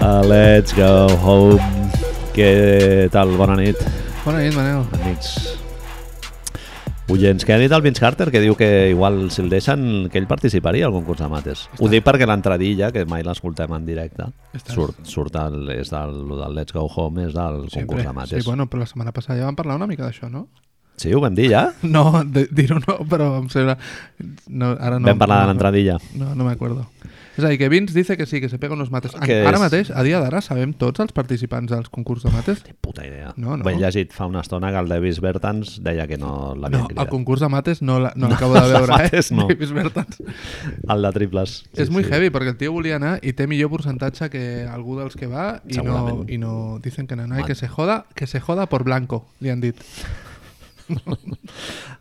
Uh, let's go home. Què tal? Bona nit, Bona nit, Manel. amics. Oients, què ha dit el Vince Carter? Que diu que igual si el deixen, que ell participaria al concurs de mates. Ho dic perquè l'entradilla, que mai l'escoltem en directe, Està. surt, surt el, és del, lo del Let's Go Home, és del concurs de mates. Sí, bueno, però la setmana passada ja vam parlar una mica d'això, no? sí, ho vam dir ja? No, de- dir-ho no, però em sembla... No, ara no, vam parlar de no, l'entradilla. No, no m'acuerdo. És a dir, que Vince dice que sí, que se pega unos mates. Que Okay, ara és- mateix, a dia d'ara, sabem tots els participants dels concurs de mates? Puta idea. No, no. Ho he llegit fa una estona que el Davis Bertans deia que no l'havien No, el cridat. concurs de mates no la- no l'acabo no, de de veure, mates eh? no. Davis Bertans. El de triples. Sí, és molt heavy, perquè el tio volia anar i té millor percentatge que algú dels que va i no, Segurament. i no dicen que no anar i Mat- que se joda, que se joda por blanco, li han dit.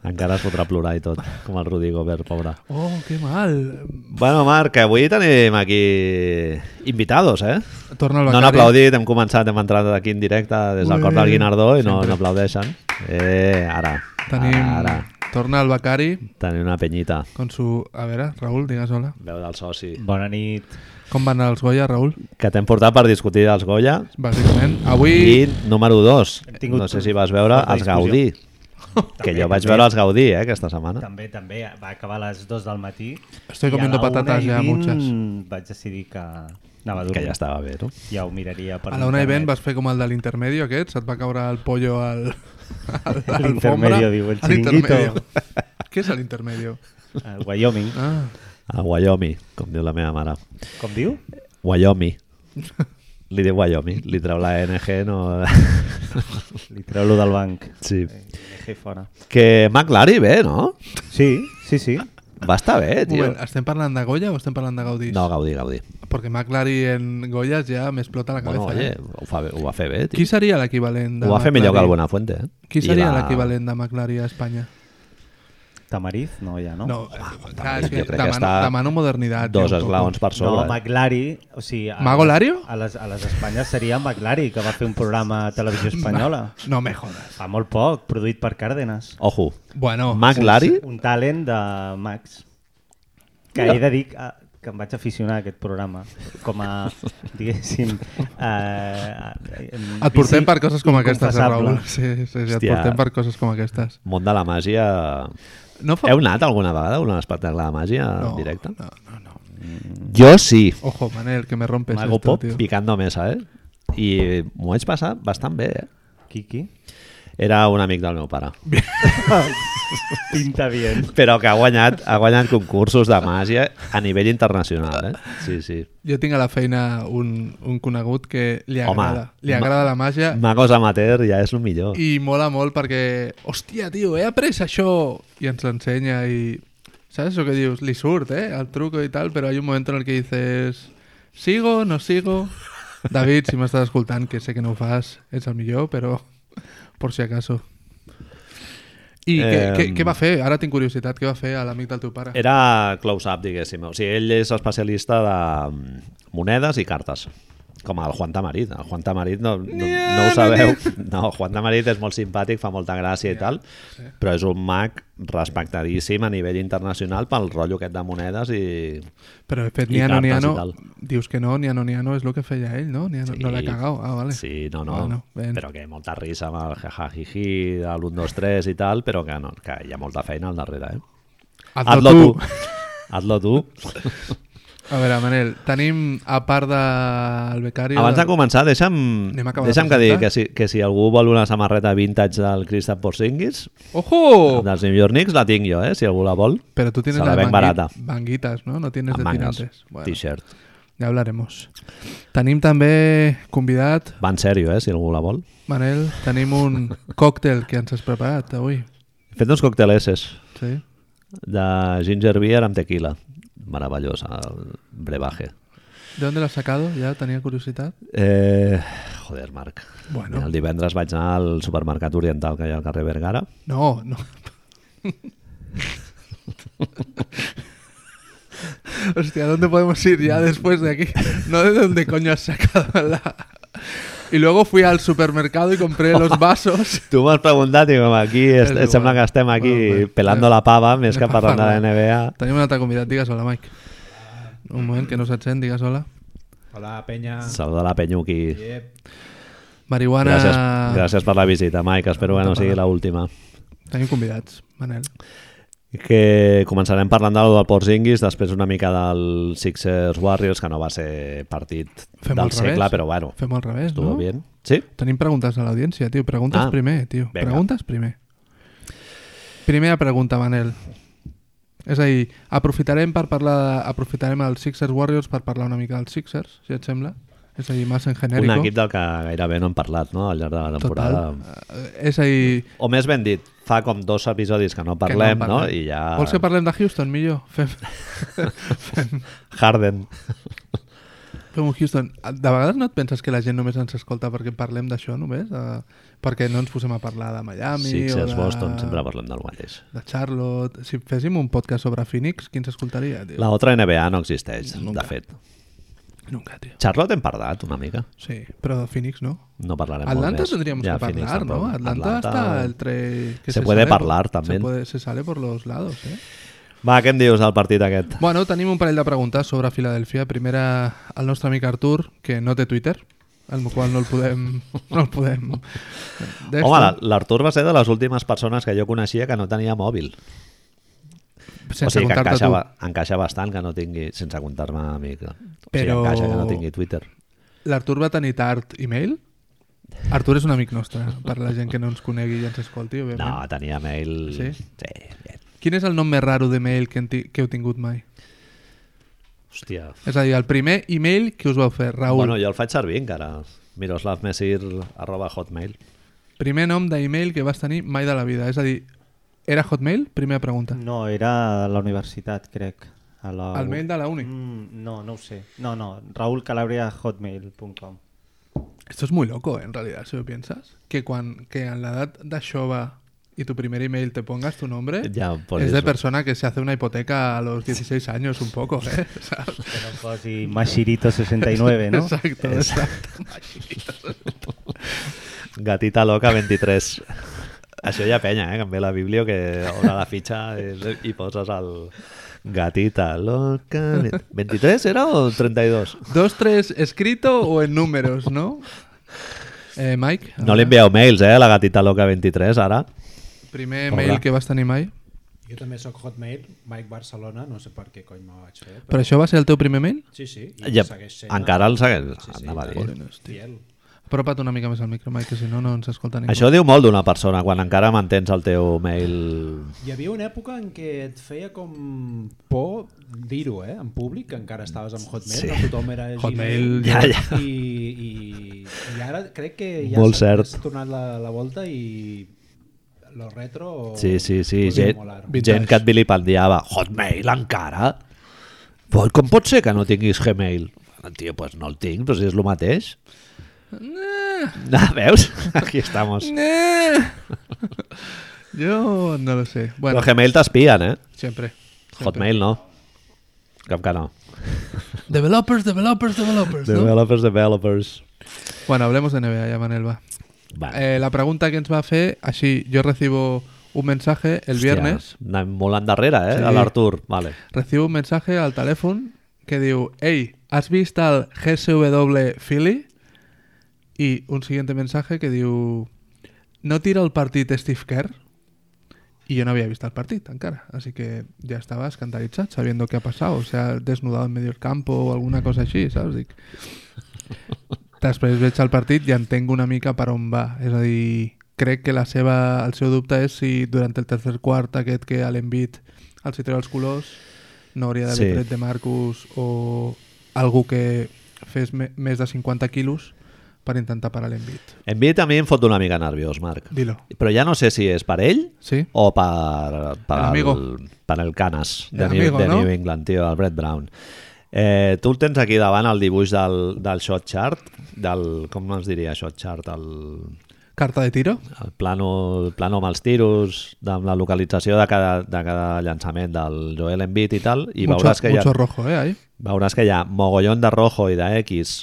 Encara es fotrà a plorar i tot, com el Rudi Gobert, pobre. Oh, que mal. Bueno, Marc, avui tenim aquí invitados, eh? Torna el No Becari. han aplaudit, hem començat, hem entrat aquí en directe des del cor del Guinardó i no, Sempre. no aplaudeixen. Eh, ara, Tenim... ara, ara. Torna el Becari Tenim una penyita. con su... A veure, Raül, digues hola. Veu del soci. Bona nit. Com van anar els Goya, Raül? Que t'hem portat per discutir dels Goya. Bàsicament. Avui... I número 2, Hem tingut no sé si vas veure forta els discussió. Gaudí. Que jo vaig veure els Gaudí, eh, aquesta setmana. També, també, va acabar a les 2 del matí. Estoy I a comiendo la patatas una i ya, vint muchas. Vaig decidir que anava a dormir. Que ja estava bé, no? Ja ho miraria per A la una i vent internet. vas fer com el de l'intermedio aquest, se't va caure el pollo al... al- a l'alfombra. L'intermedio, diu, el A l'intermedio. chiringuito. Què és l'intermedio? A Eh, Wyoming. Ah, A Wyoming, com diu la meva mare. Com diu? Wyoming. Li diu Wyoming, li treu la NG, no... Li treu-lo del banc. Sí. Eh, fora. Que McLary bé, no? Sí, sí, sí. Va estar bé, un tio. moment, ah, estem parlant de Goya o estem parlant de Gaudí? No, Gaudí, Gaudí. Perquè McLary en Goyas ja m'explota la cabeza. Bueno, oye, eh? ho, fa bé, ho va fer bé, tio. Qui seria l'equivalent de Ho va fer millor que el McLary? Buenafuente, eh? Qui I seria la- l'equivalent de McLary a Espanya? Tamariz, no, ja no. No, eh, clar, és jo que crec que demano, està demano modernitat. Dos jo, un poco. esglaons per No, sobre. eh? McLary, o sigui... a- eh. Mago Lario? A les, a les Espanyes seria McLary, que va fer un programa a televisió espanyola. No me jodas. Fa molt poc, produït per Cárdenas. Ojo. Bueno, McLary? Un talent de Max. Que he de dir que, que em vaig aficionar a aquest programa. Com a, diguéssim... Eh, et portem per coses com aquestes, eh, Raül. inconfessable. Sí, sí, sí, et Hòstia. portem per coses com aquestes. Món de la màgia... No fa... Heu anat alguna vegada a un espectacle de màgia no, en directe? No, no, no. Jo sí. Ojo, Manel, que me rompes Mago esto, Pop tío. picando mesa, eh? I m'ho vaig passar bastant bé, eh? Qui, qui? Era un amic del meu pare. Pinta bien. Però que ha guanyat, ha guanyat concursos de màgia a nivell internacional, eh? Sí, sí. Jo tinc a la feina un, un conegut que li Home, agrada, li ma- agrada la màgia Magos amateur ja és el millor. i mola molt perquè, hòstia, tio, he après això! I ens l'ensenya i... ¿Sabes lo que dius? Li surt, eh? El truco y tal, pero hay un momento en el que dices sigo, no sigo... David, si m'estàs escoltant, que sé que no ho fas, ets el millor, però por si acaso. I què, Em. què, què va fer? Ara tinc curiositat. Què va fer a l'amic del teu pare? Era close-up, diguéssim. O sigui, ell és especialista de mm, monedes i cartes. Com el Juan Tamarit. El Juan Tamarit no, no, no ho sabeu. No, el Juan Tamarit és molt simpàtic, fa molta gràcia i tal, però és un mag respectadíssim a nivell internacional pel rotllo aquest de monedes i... Però he fet I Niano, cartes i Niano... tal. Dius que no, Niano, Niano és el que feia ell, no? Niano, No l'he cagado. Ah, vale. Sí, no, no. Bueno, ben. però que molta risa amb el jajajiji, l'1, 2, 3 i tal, però que, no, que hi ha molta feina al darrere, eh? Hazlo, tu. Hazlo tu. A veure, Manel, tenim, a part del becari... Abans de de... començar, deixa'm, Anem a acabar de deixa'm que digui presentar. que si, que si algú vol una samarreta vintage del Christoph Porzingis, ¡Ojo! dels New York Knicks, la tinc jo, eh, si algú la vol. Pero tú tienes Se la las ven barata. banguitas, ¿no? No tienes Amb de mangas, tirantes. Bueno, t-shirt. ya hablaremos. Tenim també convidat, Va en sèrio, eh, si algú la vol. Manel, tenim un còctel que ens has preparat avui. He fet uns cocteleses Sí? de ginger beer amb tequila. Meravellós, el brebaje. ¿De dónde lo has sacado? Ya tenía curiosidad. Eh, joder, Marc. Bueno. Mira, el divendres vaig anar al supermercat oriental que hi ha al carrer Vergara. No, no. Hostia, ¿a dónde podemos ir ya después de aquí? No de dónde coño has sacado la... Y luego fui al supermercado y compré los vasos. Tu m'has preguntat i com aquí És es, et sembla igual. que estem aquí Bueno, bueno. pelando la pava més que Anem a parlant de la parlar. NBA. Tenim un altre convidat, digues hola, Mike. Un moment, que no se't sent, digues hola. Hola, penya. Saluda la penyuqui. Yep. Marihuana... Gràcies, gràcies per la visita, Mike. Espero que no sigui l'última. Tenim convidats, Manel. que començarem parlant del, del Porzingis, després una mica del Sixers Warriors, que no va ser partit Fem al del revés. segle, però bueno, Fem al revés, estuvo no? bien. Sí? Tenim preguntes a l'audiència, tio. Preguntes Ah, primer, tio. vinga. Preguntes primer. Primera pregunta, Manel. És a dir, aprofitarem per parlar de- aprofitarem els Sixers Warriors per parlar una mica dels Sixers, si et sembla. És a dir, massa en genèrico. Un equip del que gairebé no hem parlat no? al llarg de la Total. temporada. Eh, És a dir... O més ben dit, fa com dos episodis que no parlem, que no, en I ja... Vols que parlem de Houston, millor? Fem, Harden. fem un Houston. De vegades no et penses que la gent només ens escolta perquè parlem d'això només? De... Perquè no ens posem a parlar de Miami o Sixers, de... Boston, sempre parlem del mateix. de Charlotte. Si féssim un podcast sobre Phoenix, qui ens escoltaria, tio? La otra NBA no existeix, Nunca. de fet. Nunca, tio. Charlotte hem parlat una mica. Sí, però de Phoenix no. No parlarem molt Atlanta més. tendríamos Ja, que Phoenix parlar, ¿no? tampoc. Atlanta, hasta el 3... Se puede parlar, Se, también. puede- se sale por los lados, eh? Va, què en dius del partit aquest? Bueno, tenim un parell de preguntes sobre Filadèlfia. Primera, el nostre amic Artur, que no té Twitter, el qual no el podem... No el podem... d'esto. Home, la- l'Artur va ser de les últimes persones que jo coneixia que no tenia mòbil. sense o sigui, que comptar-te encaixa, tu. ba- encaixa bastant que no tingui, sense comptar-me a mi. que- O Però- sigui, encaixa que no tingui Twitter. L'Artur va tenir tard email? Artur és un amic nostre, per la gent que no ens conegui i ens escolti, òbviament. No, tenia mail... Sí? sí bien. Quin és el nom més raro de mail que, en ti- que heu tingut mai? Hòstia. És a dir, el primer email que us vau fer, Raül. Bueno, jo el faig servir encara. Miroslavmesir arroba hotmail. Primer nom d'email que vas tenir mai de la vida. És a dir, era Hotmail? Primera pregunta. No, era a la universitat, crec. A la... El mail de la uni. Mm, no, no ho sé. No, no, raulcalabria.hotmail.com Esto es muy loco, eh, en realidad, si lo piensas. Que, cuando, que en la edad de Shova y tu primer email te pongas tu nombre, Ja, por es de eso. persona que se hace una hipoteca a los 16 años un poco, ¿eh? ¿Sabes? Que no posi Mashirito69, no? Exacto, exacto. Gatita loca 23. Això ja penya, eh? Que em ve la Biblio que obre la fitxa i, eh, i poses el... Gatita loca... 23 era o 32? Dos, tres, escrito o en números, ¿no? Eh, Mike, No li envieu mails, eh, a la gatita loca 23, ara. primer Hola. mail que vas tenir mai. Jo també sóc Hotmail, Mike Barcelona, no sé per què cony me vaig fer. Però això va ser el teu primer mail? Sí, sí, i Ja, segueix sent encara el segueix. Sí, sí, anava a dir. tant. Joder, hòstia. fiel. Apropa't una mica més al micro, Mike, que si no, no ens escolta ningú. Això diu molt d'una persona, quan encara mantens el teu mail... Hi havia una època en què et feia com por dir-ho, eh? En públic, que encara estaves amb Sí. Hotmail, sí. que tothom era Hotmail, Gmail, ja, ja. I, i, I ara crec que ja Molt s'ha- cert. s'ha tornat la, la volta i lo retro... Sí, sí, sí, podria gent, molar. gent que et vilipendiava. Hotmail encara? Però com pot ser que no tinguis Gmail? Tio, pues no el tinc, però si és el mateix. Ah, veus? Aquí estamos. Eh. Yo no lo sé. Bueno, Però Gmail t'espien, eh? siempre. siempre. Hotmail no. Cap que no. Developers, developers, developers. ¿no? Developers, developers. Bueno, hablemos de NBA ya, Manel, va. Vale. Eh, la pregunta que ens va fer, així, jo recibo un mensaje el viernes, Anem molt endarrere, eh? Sí. Sí. A l'Artur, vale. recibo un mensaje al telèfon que diu Ei, has vist el GSW Philly? I un siguiente mensaje que diu No tira el partit Steve Kerr? Y yo no había visto el partido encara, así que ya estaba escandalizado sabiendo qué ha pasado. O sea, desnudado en medio del campo o alguna cosa así, ¿sabes? Dic... Després veig el partit i entenc una mica per on va. És a dir, crec que la seva, el seu dubte és si durant el tercer quart aquest que a l'envit els hi treu els colors no hauria d'haver Sí. tret de Marcus o algú que fes me, més de 50 quilos per intentar parar l'envit. Envit a mi em fot una mica nerviós, Marc. Dilo. Però ja no sé si és per ell Sí? o per, per, El amigo. el, per el Canas de, El New, amigo, de no? New England, tio, el Brett Brown. Eh, tu el tens aquí davant, el dibuix del, del shot chart, del, com es diria shot chart, el, Carta de tiro? el, plano, el plano amb els tiros, amb la localització de cada, de cada llançament del Joel Embiid i tal, i mucho, veuràs que hi mucho ha rojo, eh, ahí. veuràs que hi ha mogollón de rojo i de X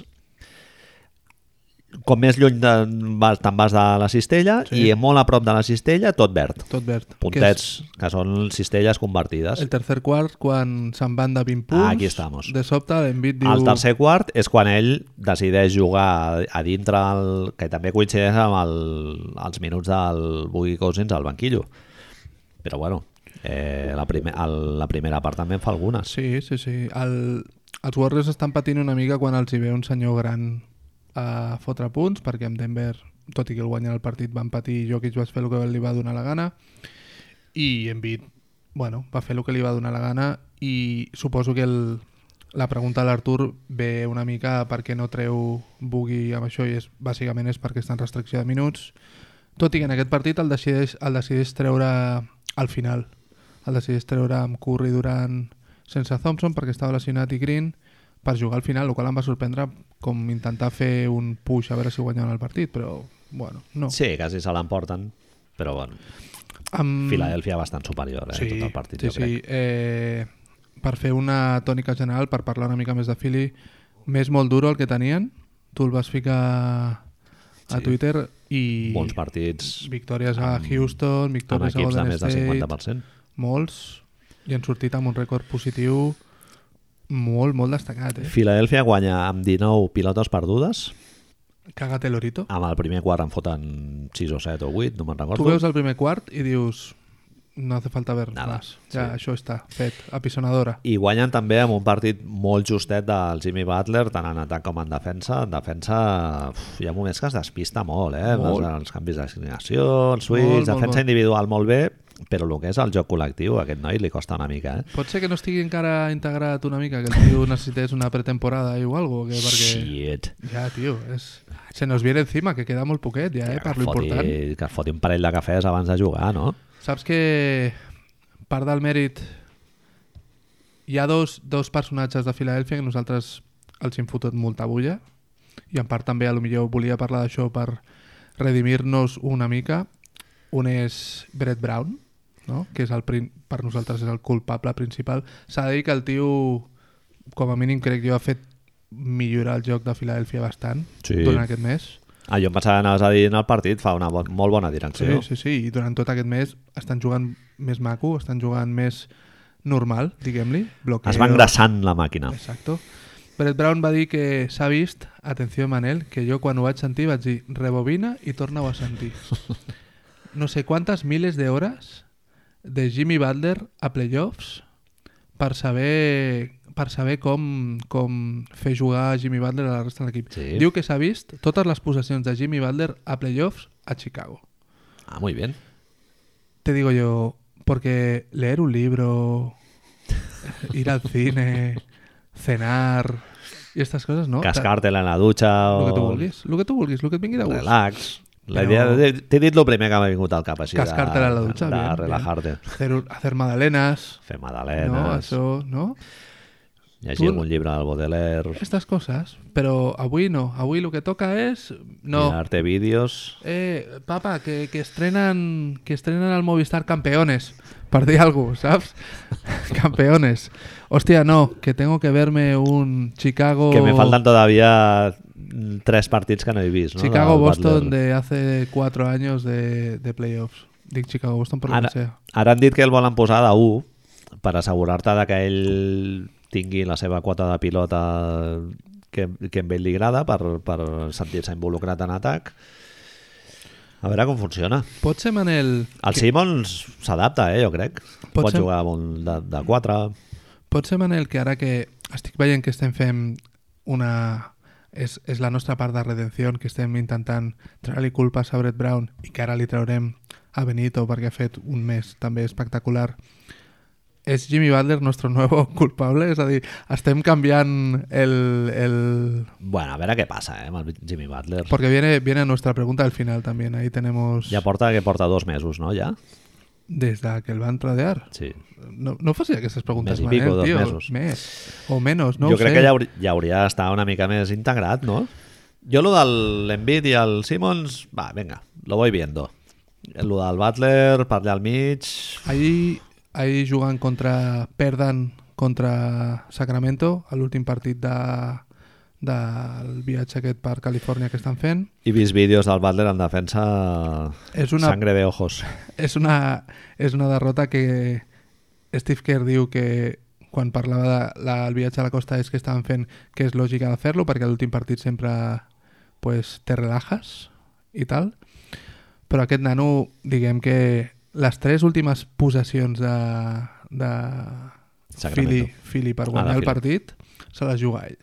com més lluny de, vas, te'n vas de la cistella sí. i molt a prop de la cistella, tot verd. Tot verd. Puntets, que, són cistelles convertides. El tercer quart, quan se'n van de 20 punts, Ah, aquí estamos. de sobte l'envit diu... El tercer quart és quan ell decideix jugar a- a dintre, el, que també coincideix amb el, els minuts del Boogie Cousins al banquillo. Però bueno, eh, la, primer, el, la primera part també en fa algunes. Sí, sí, sí. El... Els Warriors estan patint una mica quan els hi ve un senyor gran a fotre punts, perquè amb Denver, tot i que el guanyar el partit, van patir i Jokic va fer el que li va donar la gana. I Embiid, bueno, va fer el que li va donar la gana i suposo que el... la pregunta de l'Artur ve una mica per què no treu Boogie amb això i és, bàsicament és perquè està en restricció de minuts. Tot i que en aquest partit el decideix, el decideix treure al final. El decideix treure amb Curry durant sense Thompson perquè estava lesionat i Green per jugar al final, el qual em va sorprendre com intentar fer un push a veure si guanyaven el partit, però bueno, no. Sí, quasi se l'emporten, però bueno, Amb- Filadèlfia bastant superior, eh, tot el partit, Mm. sí, jo crec. sí. Eh, per fer una tònica general, per parlar una mica més de Philly, més molt duro el que tenien, tu el vas ficar a Sí. Twitter i Molts partits victòries a Houston, amb victòries equips a de Golden més de State, 50%. molts, i han sortit amb un rècord positiu molt, molt destacat, eh? Filadèlfia guanya amb 19 pilotes perdudes. Cagate l'orito. Amb el primer quart en foten 6 o 7 o 8, no me'n Tu recordo. veus el primer quart i dius no hace falta ver Nada, más. Ja, això està fet. Apisonadora. I guanyen també amb un partit molt justet del Jimmy Butler, tant en atac com en defensa. En defensa uf, hi ha moments que es despista molt, eh? Molt. Els, els canvis d'assignació, els swings, Molt, molt, defensa molt. individual molt bé, però el que és el joc col·lectiu, a aquest noi li costa una mica, eh? Pot ser que no estigui encara integrat una mica, que el tio necessités una pretemporada i o algo, que perquè... Shit. Ja, tio, és... se nos viene encima, que queda molt poquet ja, eh, Que per es lo foti- important. Que es foti un parell de cafès abans de jugar, no? Saps que part del mèrit hi ha dos, dos personatges de Filadèlfia que nosaltres els hem fotut molta bulla i en part també a lo millor volia parlar d'això per redimir-nos una mica un és Brett Brown no? que és el prin- per nosaltres és el culpable principal s'ha de dir que el tio com a mínim crec jo ha fet millorar el joc de Filadèlfia bastant Sí. durant aquest mes Ah, jo em pensava que anaves a dir en el partit, fa una bon, molt bona Sí, direcció. sí, sí, i durant tot aquest mes estan jugant més maco, estan jugant més normal, diguem-li. bloqueo. Es va engrassant la màquina. Exacto. Brett Brown va dir que s'ha vist, atenció Manel, que jo quan ho vaig sentir vaig dir rebobina i torna-ho a sentir. No sé quantes miles d'hores de Jimmy Butler a playoffs per saber, per saber com, com fer jugar a Jimmy Butler a la resta de l'equip. Sí. Diu que s'ha vist totes les possessions de Jimmy Butler a playoffs a Chicago. Ah, muy bien. Te digo yo, porque leer un libro, ir al cine, cenar y estas cosas, ¿no? Cascártela en la dutxa Lo que tú o... vulguis, lo que tú vulguis, lo que et vingui de gust. Relax. La Però- idea de... T'he dit el primer que m'ha vingut al cap, així Cascártela en la dutxa, de, bien, bien. de relajar-te. Hacer, un- hacer magdalenas, Fer ¿no? magdalenes, no, Eso, ¿no? llegir tu- algun llibre del Baudelaire, Estas cosas, pero avui no, avui lo que toca es... No, mirar-te vídeos... eh, papa, que, que estrenan que estrenan al Movistar Campeones, per dir algo, ¿sabes? campeones. Hostia, no, que tengo que verme un Chicago... Que me faltan todavía tres partits que no he vist, no? Del Chicago-Boston Butler. de hace cuatro años de, de playoffs. Dick Chicago-Boston por lo Ara, que sea. ara han dit que el volen posar de 1 per assegurar-te de que ell tingui la seva quota de pilota que, que a ell li agrada per, per sentir-se involucrat en atac. A veure com funciona. Pot ser, Manel, El Simons s'adapta, eh, jo crec. Pot Pot, ser. jugar amb un de, de 4. pot ser, Manel, que ara que estic veient que estem fent E una... És, és la nostra part de redenció, que estem intentant treure-li culpes a Brett Brown i que ara li traurem a Benito perquè ha fet un mes també espectacular. És Jimmy Butler nostre nuevo culpable? És a dir, estem canviant el, el, Bueno, a veure què passa, eh, amb el Jimmy Butler. Porque viene, viene nuestra pregunta al final también. Ahí tenemos. Ja porta que porta dos mesos, no, ja? Desde que el van a tradear. Sí. No, no fos que esas Mes preguntas y Manel, pico, dos tío. mesos. Mes. O menos, ¿no? jo ho crec sé. que ja, hauri, ja hauria d'estar una mica més integrat, no? Jo lo del l'Envid i el Simmons, va, venga, lo voy viendo. Lo del Butler, per allà al mig... Ahí, ahí jugan contra. Perdan contra Sacramento al último partido de, del viatge aquest per Califòrnia que estan fent. He vist vídeos del Butler en defensa És una- sangre de ojos. És una, és una derrota que Steve Kerr diu que quan parlava del de la, el viatge a la costa és que estaven fent que és lògica de fer-lo perquè l'últim partit sempre pues, te relajas i tal però aquest nano diguem que les tres últimes possessions de, de Sacramento. Philly, Philly Ah, per de guanyar el Philly. partit se les juga ell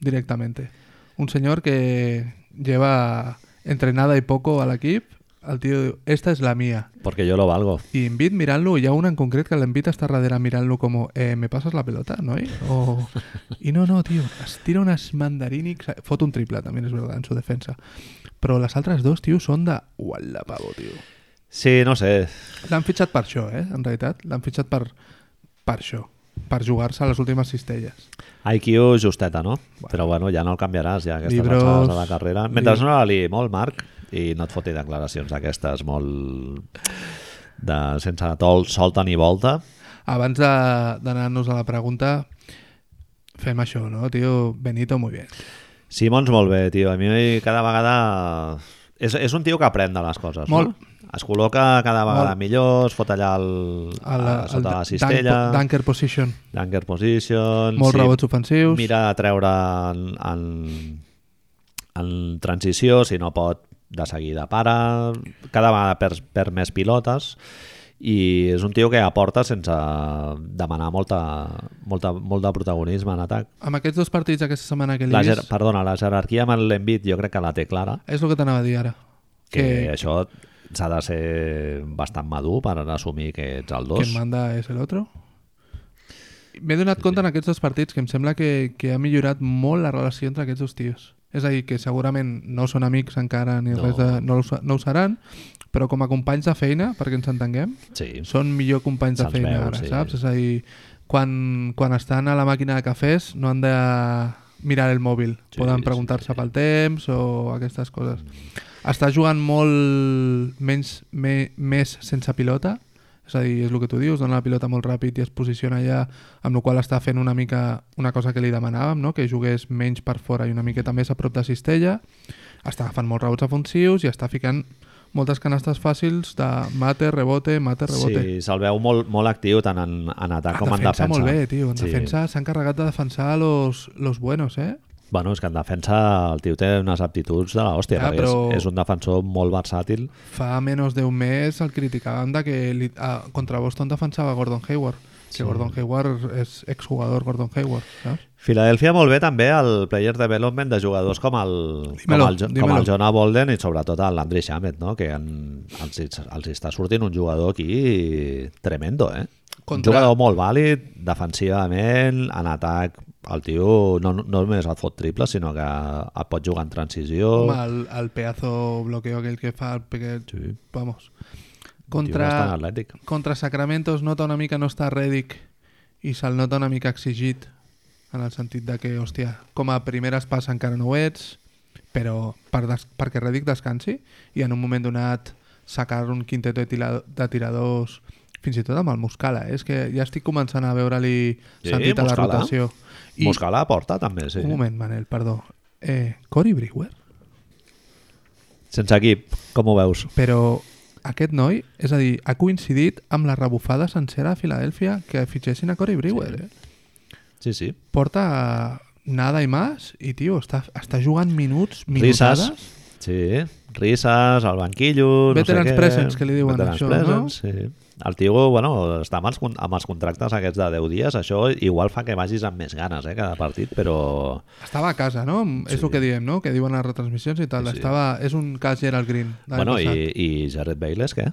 directamente un señor que lleva entrenada y poco al equipo. El tío diu, esta es la mía. Porque yo lo valgo. Y Embiid mirant-lo, hi ha una en concret que l'Embiid està darrere mirant-lo com eh, me passes la pelota, noi? O... I no, no, tio, es tira unes mandarínics... Fot un triple, també és verdad, en su defensa. Però les altres dos, tio, són de... Uala, pavo, tio. Sí, no sé. L'han fitxat per això, eh, en realitat. L'han fitxat per, per això, per jugar-se a les últimes cistelles. IQ justeta, no? Però bueno, ja no el canviaràs, ja, a aquestes Libros. alçades de la carrera. Mentre Li- no la liï molt, Marc, i no et foti declaracions d'aquestes molt... De, sense tol, solta ni volta. Abans de- d'anar-nos a la pregunta, fem això, no, tio? Benito, muy bien. Simons molt bé, tio. A mi cada vegada... És, és un tio que aprèn de les coses, Molt. no? Es col·loca cada vegada Molt. millor, es fot allà el, El, a, el Ah, sota la dunk- cistella, Dunker position. dunker position... Molts rebots ofensius. Mira de treure en, en, en transició, si no pot de seguida para, cada vegada per, per més pilotes i és un tio que aporta sense demanar molta, molta, molt de protagonisme en atac. Amb aquests dos partits aquesta setmana que li La he ger vist, perdona, la jerarquia amb l'Envit jo crec que la té clara, és el que t'anava a dir ara. que, Que, això s'ha de ser bastant madur per assumir que ets el que dos. manda és l'altre. M'he donat compte en aquests dos partits que em sembla que, que ha millorat molt la relació entre aquests dos tios. És a dir, que segurament no són amics encara ni No. no. res de... No, ho, sa- no ho seran, però com a companys de feina, perquè ens entenguem, Sí, són millor companys de Se'ls feina veu, ara, sí. saps? És a dir, quan, quan estan a la màquina de cafès no han de mirar el mòbil. Sí, Poden sí, preguntar-se sí. Mm. pel temps o aquestes coses. Està jugant molt menys, me, més sense pilota, és a dir, és el que tu dius, dona la pilota molt ràpid i es posiciona allà, amb la qual cosa està fent una mica una cosa que li demanàvem, no? que jugués menys per fora i una miqueta més a prop de cistella, està agafant molts rebots ofensius i està ficant moltes canastes fàcils de mate, rebote, mate, rebote. Ah, sí se'l veu molt, molt actiu tant en, en atac com en defensa defensa. molt bé, tio. En defensa s'han carregat de defensar los, los buenos, eh? Bueno, és que en defensa el tio té unes aptituds de l'hòstia, Ja, perquè és, Ah, però- és un defensor molt versàtil. Fa menys d'un mes el criticaven de que li, a, contra Boston defensava Gordon Hayward. Sí. Que Gordon Hayward és exjugador Gordon Hayward, saps? Filadelfia molt bé també el player development de jugadors com el, com Dímelo, el, Jo- com dímelo. el Jonah Bolden i sobretot l'Andre Shamet, no? que en, els, hi- els hi està sortint un jugador aquí tremendo, eh? Un Contra- jugador molt vàlid, defensivament, en atac, el tio no, no només et fot triple, sinó que et pot jugar en transició. Home, el, el pedazo bloqueo aquell que fa... Que, Sí, vamos. Contra... Contra, bastant atlètic. contra Sacramento es nota una mica no està Redick i se'l nota una mica exigit en el sentit de que, hòstia, com a primeres pas encara no ho ets, però per des, perquè Redick descansi i en un moment donat sacar un quinteto de, tila- de tiradors fins i tot amb el Muscala, eh? és que ja estic començant a veure-li Sí, sentit a la Muscala. rotació. I... Muscala aporta també, sí. Un moment, Manel, perdó. Eh, Cory Brewer? Sense equip, com ho veus? Però aquest noi, és a dir, ha coincidit amb la rebufada sencera a Filadèlfia que fitxessin a Cory Brewer, eh? Sí, sí. porta nada i más i, tio, està, està jugant minuts, Risas. minutades. Sí, risas, el banquillo... Veterans no sé què, presents, que li diuen, Veterans això, presents, no? Sí. El tio, bueno, està amb els, con- amb els contractes aquests de 10 dies, això igual fa que vagis amb més ganes, eh, cada partit, però... Estava a casa, no? És el que diem, no? Que diuen les retransmissions i tal. Sí, sí. Estava... És un cas Gerald Green. de l'any bueno, passat. i, i Jared Bayless, què?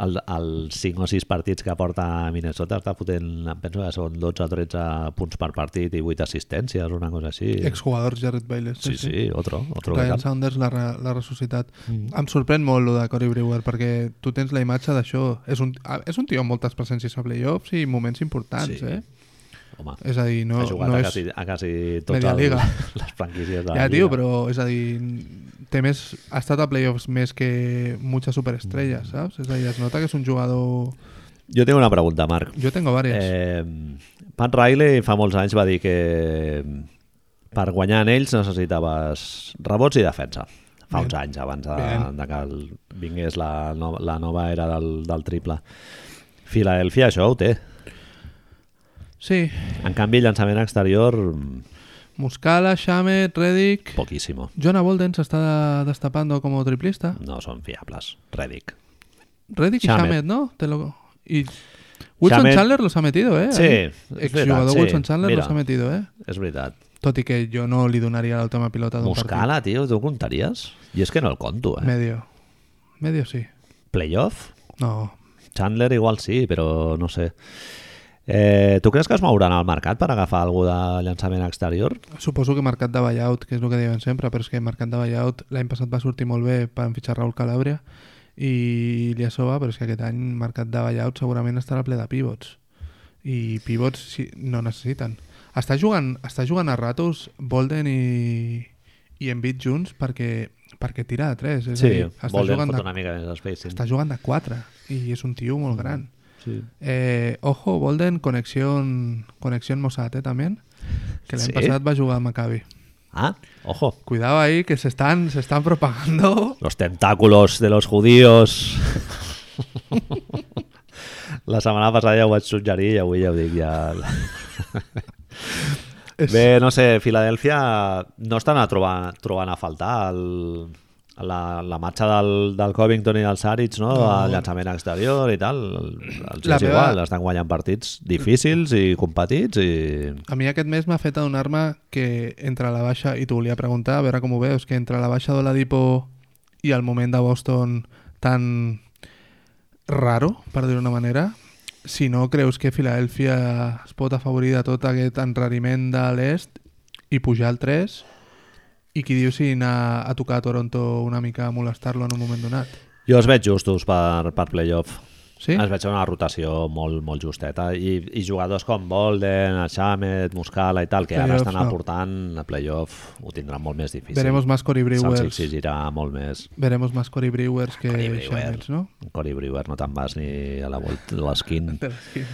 El, els 5 o 6 partits que porta a Minnesota està fotent, em penso que són 12 o 13 punts per partit i 8 assistències, una cosa així. Exjugador Jared Bayless. Sí, sí, otro, otro Ryan veterano. Saunders l'ha re- l'ha ressuscitat. Mm. Em sorprèn molt lo de Cory Brewer perquè tu tens la imatge d'això. És, un, ah, és un tio amb moltes presències a playoffs i moments Sí. importants, eh? Home, És a dir, no, ha jugat no a, és... quasi, a quasi totes media liga. les, les franquícies de la Ja, tio, Lliga. però és a dir, té més, ha estat a playoffs més que muchas superestrelles, Mm. saps? És a dir, es nota que és un jugador... Jo tinc una pregunta, Marc. Jo tengo varias. Eh, Pat Riley fa molts anys va dir que Per guanyar en ells necessitaves rebots i defensa. Fa uns anys abans de, Bien. de que el- vingués la, no, la nova era del, del triple. Filadelfia això ho té. Sí, En canvi, llançament exterior, mm, Muscala, Shamet, Reddick... poquísimo. Jonah Bolden se está destapando como triplista. No són fiables. Redick. Reddick y Shamet. Shamet, ¿no? Te lo... Y Wilson Shamet- Chandler los ha metido, ¿eh? Sí, Ahí. es Exjugador verdad, sí. Wilson Chandler Mira. los ha metido, ¿eh? És veritat. Toti que yo no le donaría la última pilota de un partido. Muscala, tio, tu comptaries? I és que no el conto, eh? Medio. Medio sí. Playoff? No. Chandler igual sí, però no sé. Eh, tu creus que es mouran al mercat per agafar algú de llançament exterior? Suposo que mercat de buyout, que és el que diuen sempre, però és que mercat de buyout l'any passat va sortir molt bé per fitxar Raúl Calàbria i Ilyasova, però és que aquest any mercat de buyout segurament estarà ple de pivots i pivots sí, no necessiten. Està jugant, està jugant a ratos Bolden i, i Embiid junts perquè, perquè tira de 3. És a dir, està Bolden jugant fot de, una mica més d'espacing. està jugant de 4 i és un tio molt Mm. gran. Sí. Eh, ojo, Bolden, conexión, conexión Mossad, eh, también. Que l'any Sí? sí? passat va jugar a Maccabi. Ah, ojo. Cuidado ahí, que se están, se están propagando. Los tentáculos de los judíos. La setmana passada ja ho vaig suggerir i avui ja ho dic ja. És- Bé, no sé, Filadèlfia no estan a trobar, trobant a faltar el, la, la marxa del, del Covington i del Saric, no? no. El llançament exterior i tal. Els La és meva- igual, estan guanyant partits difícils i competits i... A mi aquest mes m'ha fet adonar-me que entre la baixa, i t'ho volia preguntar, a veure com ho veus, que entre la baixa d'Oladipo i el moment de Boston tan raro, per dir-ho d'una manera, si no creus que Filadèlfia es pot afavorir de tot aquest enrariment de l'est i pujar al 3 i qui diu si anar a tocar a Toronto una mica a molestar-lo en un moment donat. Jo els veig justos per, per playoff. Sí? Es veig una rotació molt, molt justeta i, i jugadors com Bolden, Shamet, Muscala i tal, que ara Playoffs, estan no. aportant a playoff, ho tindran molt més difícil. Veremos más Cory Se'ls Brewers. exigirà molt més. Veremos más Cory Brewers que Cory Brewer. Shamets, ¿no? Cory Brewer no te'n vas ni a la volta de l'esquin. De les que-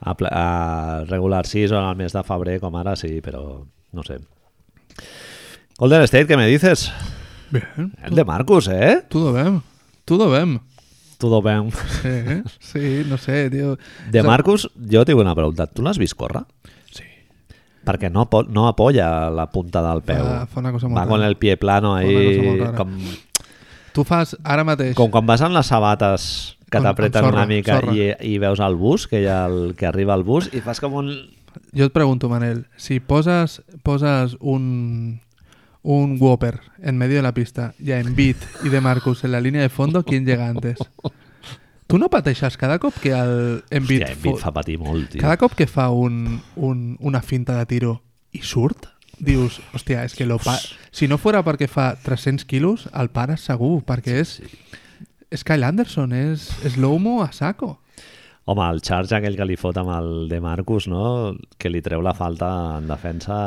A, pla- a regular season al mes de febrer, com ara, sí, però no sé. Golden State, què me dices? Bien. El de Marcus, eh? Todo bien. Todo bien. Todo bien. Sí, ¿eh? sí, no sé, tío. De Marcus, jo tinc una pregunta. Tu l'has vist córrer? Sí. Perquè no, apo- no apoya la punta del peu. Fa- fa una cosa molt Va rara. con el pie plano Fa una cosa molt ahí, rara. com, Tu fas ara mateix... com quan vas en les sabates que Amb- amb t'apreten sorra, una mica sorra. i, i veus el bus, que, hi ha el, que arriba el bus, i fas com un... Jo et pregunto, Manel, si poses, poses un, un Whopper en medio de la pista i a Embiid i de Marcus en la línia de fondo, ¿quién llega antes? Tu no pateixes cada cop que el Embiid, Hòstia, Embiid fot- fa patir molt, tio. Cada cop que fa un, un, una finta de tiro i surt, dius, hòstia, és que lo pa... si no fora perquè fa 300 quilos, el para segur, perquè és... És Kyle Anderson, és, és l'homo a saco. Home, el charge aquell que li fot amb el de Marcus, no? que li treu la falta en defensa,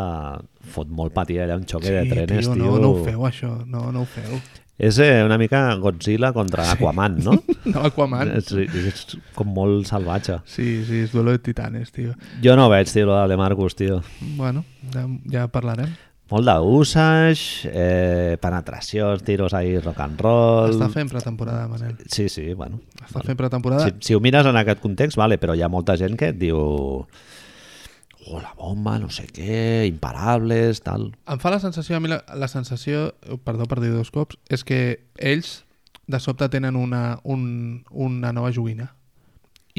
fot molt patir allà un xoque de trenes, tio, tio. No, no ho feu, això. No, no ho feu. És eh, una mica Godzilla contra Aquaman, no? No, Aquaman. és, és com molt salvatge. Sí, sí, és duelo de titanes, tio. Jo no veig, tio, el de Marcus, tio. Bueno, ja, ja parlarem. Molt d'usage, eh, penetracions, tiros ahí, rock and roll... Està fent pretemporada, Manel. Sí, sí, bueno. Està fent pretemporada. Si, si ho mires en aquest context, vale, però hi ha molta gent que et diu... Oh, la bomba, no sé què, imparables, tal... Em fa la sensació, a mi la, la sensació, perdó per dir dos cops, és que ells de sobte tenen una, un, una nova joguina.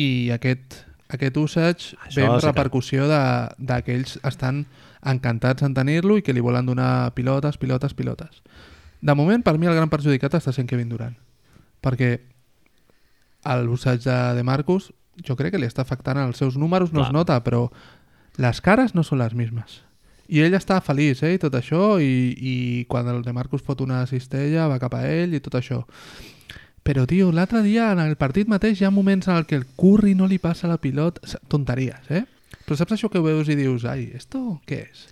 I aquest, aquest usage Això ve en sí que- repercussió de, de que ells estan encantats en tenir-lo i que li volen donar pilotes, pilotes, pilotes. De moment, per mi, el gran perjudicat està sent Kevin Durant. Perquè l'usatge de, de Marcus jo crec que li està afectant els seus números, no Clar. es nota, però les cares no són les mismes. I ell està feliç, eh, i tot això, i, i quan el de Marcus fot una cistella va cap a ell i tot això. Però, tio, l'altre dia en el partit mateix hi ha moments en el que el Curry no li passa la pilota... S- Tonteries, eh? Però saps això que ho veus i dius, ai, esto què és?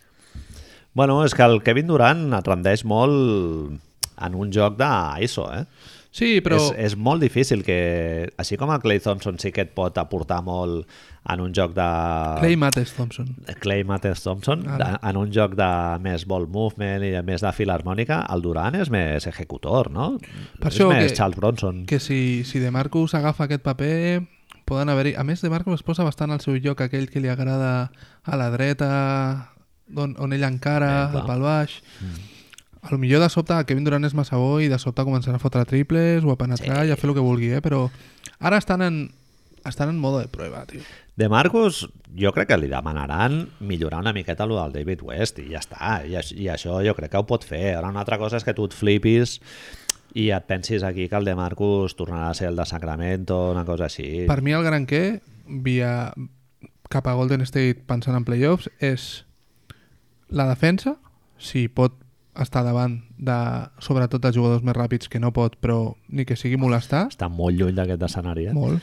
Bueno, és que el Kevin Durant et rendeix molt en un joc d'ISO, eh? Sí, però... És, és molt difícil que... Així com el Clay Thompson sí que et pot aportar molt en un joc de... Clay Mattes Thompson. Clay Mattes Thompson, de, Ara. en un joc de més ball movement i de més de filharmònica, el Duran és més ejecutor, no? Per és això més que- Charles Bronson. Que si, si De Marcus agafa aquest paper poden haver-hi... A més, De Marcus es posa bastant al seu lloc aquell que li agrada a la dreta, on, on ell encara, Eh, eh, clar. Mm. pel baix... A lo millor de sobte Kevin Durant és massa bo i de sobte començarà a fotre triples o a penetrar i a fer el que vulgui, eh? però ara estan en, estan en modo de prueba, tio. De Marcus, jo crec que li demanaran millorar una miqueta el del David West i ja està, I, aix- i això jo crec que ho pot fer. Ara una altra cosa és que tu et flipis i et pensis aquí que el de Marcus tornarà a ser el de Sacramento, una cosa així. Per mi el gran què, via cap a Golden State pensant en playoffs, és la defensa, si pot estar davant de, sobretot de jugadors més ràpids que no pot, però ni que sigui molestar, Està molt lluny d'aquest escenari, eh? molt,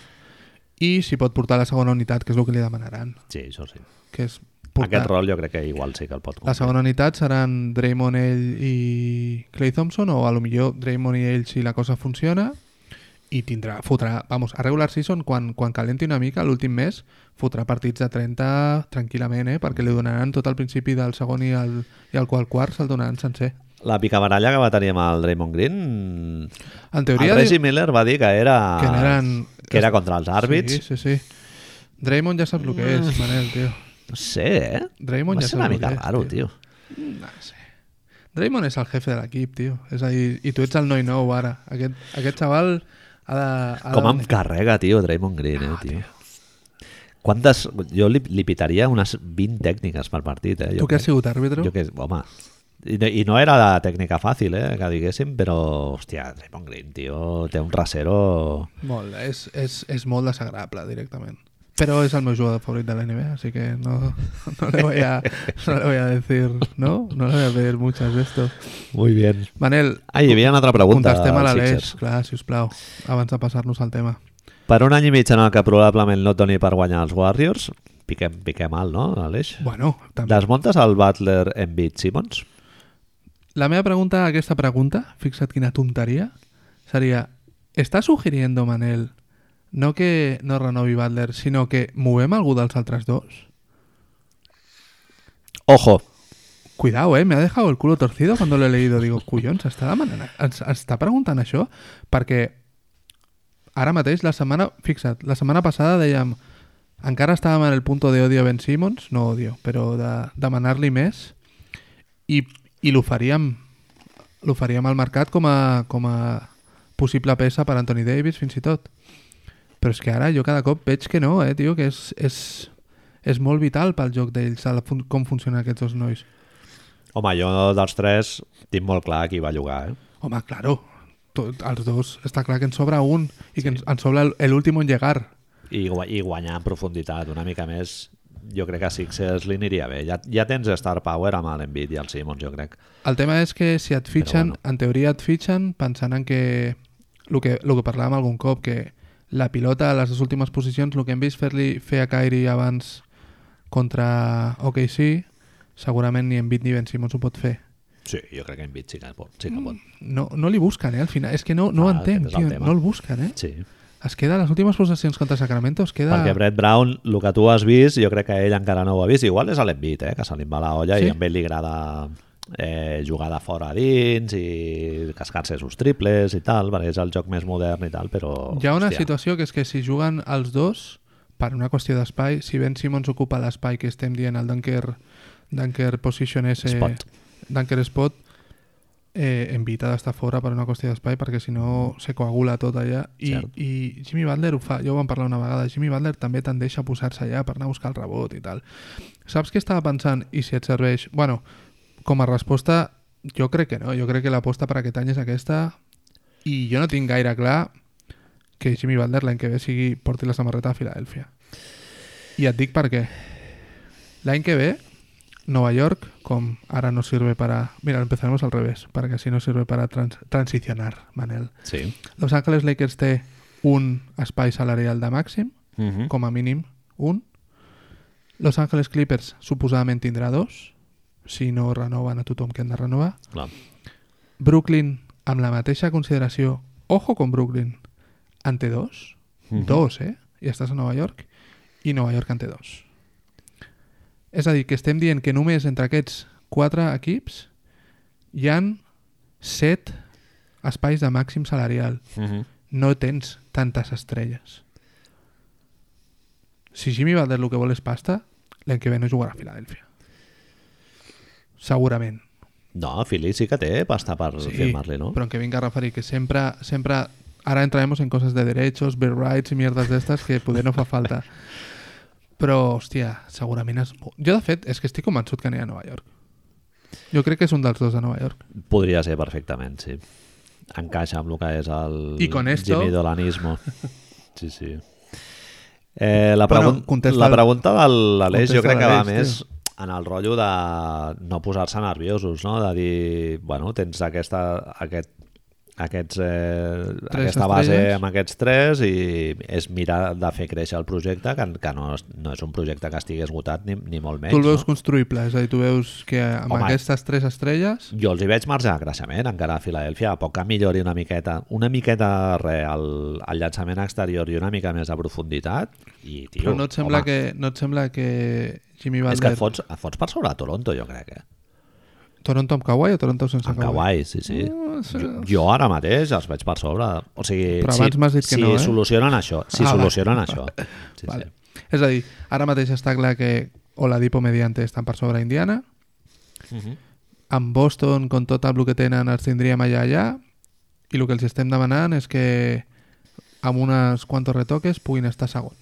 i si pot portar la segona unitat, que és el que li demanaran, Sí, això sí. que és Portar. portar... Aquest rol jo crec que igual sí que el pot La segona unitat seran Draymond, ell i Clay Thompson, o a lo millor Draymond i ell si la cosa funciona, i tindrà, fotrà, vamos, a regular season, quan, quan calenti una mica, l'últim mes, fotrà partits de 30 tranquil·lament, eh? perquè li donaran tot al principi del segon i el, i el qual quart se'l donaran sencer. La picabaralla que va tenir amb el Draymond Green... En El teoria... Reggie Miller va dir que era... Que n'eren- que era contra els àrbits. Mm. Sí, sí, sí. Draymond ja saps el que és, Manel, tio. No sé, eh? va Draymond ja ser sap una el mica que és, raro, tio. tio. No sé. Draymond és el jefe de l'equip, tio. És a dir, i tu ets el noi nou ara. Aquest, aquest xaval ha de... Ha Com de... em carrega, tio, Draymond Green, Ah, eh, tio. Quantes... Jo li, li pitaria unes 20 tècniques per partit, eh? Jo Tu que has crec. sigut àrbitre? Jo que... Home, i no, i no era la tècnica fàcil, eh, que diguéssim, però, hòstia, Draymond Green, tio, té un rasero... Molt, és, és, és molt desagradable directament. Però és el meu jugador favorit de la NBA, así que no, no, le voy a, no le voy a decir, ¿no? No le voy a pedir muchas de esto. Muy bien. Manel, Ah, hi havia una altra pregunta. contestem a als l'Aleix, Sixers. clar, sisplau, abans de passar-nos al tema. Per un any i mig en el que probablement no et doni per guanyar els Warriors, piquem, piquem alt, no, Aleix? Bueno, també. Desmontes el Butler Embiid Simmons? La meva pregunta, aquesta pregunta, fixa't quina tonteria, seria, ¿está sugiriendo Manel no que no renovi Butler, sinó que movem algú dels altres dos? Ojo, Cuidao, eh? Me ha dejado el culo torcido cuando lo he leído. Digo, collons, està demanant... Ens, ens està preguntant això? Perquè ara mateix, la setmana... Fixa't, la setmana passada dèiem encara estàvem en el punto de odio a Ben Simmons, no odio, però de demanar-li més i, i l'oferíem l'oferíem al mercat com a, com a possible peça per Anthony Davis fins i tot però és que ara jo cada cop veig que no, eh, tio, que és, és, és molt vital pel joc d'ells a la fun- com funcionen aquests dos nois home, jo dels tres tinc molt clar qui va jugar, eh? Home, claro, tot, els dos, està clar que ens sobra un i que ens, ens sobra el- el último en llegar. I, gua- i guanyar en profunditat una mica més jo crec que a Sixers li aniria bé ja, ja tens Star Power amb l'Envid i el Simmons jo crec El tema és que si et fitxen, bueno. bueno. en teoria et fitxen pensant en que el que, lo que parlàvem algun cop, que la pilota a les dues últimes posicions, el que hem vist fer-li fer a Kyrie abans contra OKC, segurament ni Embiid ni Ben Simmons ho pot fer. sí, jo crec que Envid sí que pot, sí que pot. No, no li busquen, eh, al final. És que no, no Ah, ah, entenc, aquest és el tio, tema. no el busquen, eh? Sí. Es queda a les últimes possessions contra Sacramento, es queda... perquè Brett Brown el que tu has vist jo crec que ell encara no ho ha vist igual és a l'Envid, eh? que se li va la olla Sí. i a ell li agrada eh, jugar de fora a dins i cascar-se sus triples i tal, perquè és el joc més modern i tal, però... Hi ha una hòstia, situació que és que si juguen els dos, per una qüestió d'espai, si Ben Simmons ocupa l'espai que estem dient el Dunker, Dunker Position S... Spot. Dunker Spot, eh, Embiid ha d'estar fora per una qüestió d'espai perquè si no se coagula tot allà I, Cert. i Jimmy Butler ho fa, ja ho vam parlar una vegada Jimmy Butler també tendeix a posar-se allà per anar a buscar el rebot i tal saps què estava pensant i si et serveix bueno, com a resposta jo crec que no, jo crec que l'aposta per aquest any és aquesta i jo no tinc gaire clar que Jimmy Butler l'any que ve sigui porti la samarreta a Filadèlfia i et dic per què l'any que ve Nova York, com ara no sirve para... Mira, empezaremos al revés, para que así no sirve para trans transicionar, Manel. Sí. Los Angeles Lakers té un espai salarial de màxim, Mm -hmm. com a mínim un. Los Angeles Clippers suposadament tindrà dos, si no renoven a tothom que han de renovar. Clar. Brooklyn, amb la mateixa consideració ojo con Brooklyn, ante dos, dos, eh? I estàs a Nova York, i Nova York ante dos. És a dir, que estem dient que només entre aquests quatre equips hi han set espais de màxim salarial. Mhm. No tens tantes estrelles. Si Jimmy Butler el que vol és pasta, l'any que ve no jugarà a Filadèlfia. Segurament. No, Philly sí que té pasta per firmar-li, no? Pero aunque venga Rafa y que siempre, siempre, ahora entraremos en cosas de derechos, bird rights y mierdas de estas que poder no fa falta. Pero, hostia, segurament es... Jo, de fet, és que estic convençut que anirà a Nova York. Jo crec que és un dels dos de Nova York. Podria ser perfectament, sí. Encaixa amb el que és el I con esto- Jimmy Dolanismo. Sí, sí. Eh, la, Bueno, pregun contesta la el- pregunta de l'Aleix jo contesta crec que va l'Aleix, més tio. en el rotllo de no posar-se nerviosos, no? de dir, bueno, tens aquesta, aquest, aquests, eh, Tres aquesta base estrelles. amb aquests tres i és mirar de fer créixer el projecte, que, que no, és, no és un projecte que estigui esgotat ni, ni molt menys. tu el veus no? construïble, és a dir, tu veus que amb Home. aquestes tres estrelles... Jo els hi veig marge de creixement encara a Filadèlfia, a poc que millori una miqueta, una miqueta re, el, el llançament exterior i una mica més de profunditat i, tio, Però no et sembla, home, que, no et sembla que Jimmy És que Butler... et fots, et fots per sobre a Toronto, jo crec, eh? Toronto amb Kawhi o Toronto sense En Kawhi? Kawhi, sí, sí. Jo, jo ara mateix els veig per sobre. O sigui, Però si, abans m'has dit que si no, eh? solucionen això, si Ah, va. solucionen això. Sí, vale. sí. És a dir, ara mateix està clar que Oladipo Mediante estan per sobre Indiana, Mhm. amb Boston, con tot el que tenen, els tindríem allà allà, i el que els estem demanant és que amb unes quantos retoques puguin estar segons.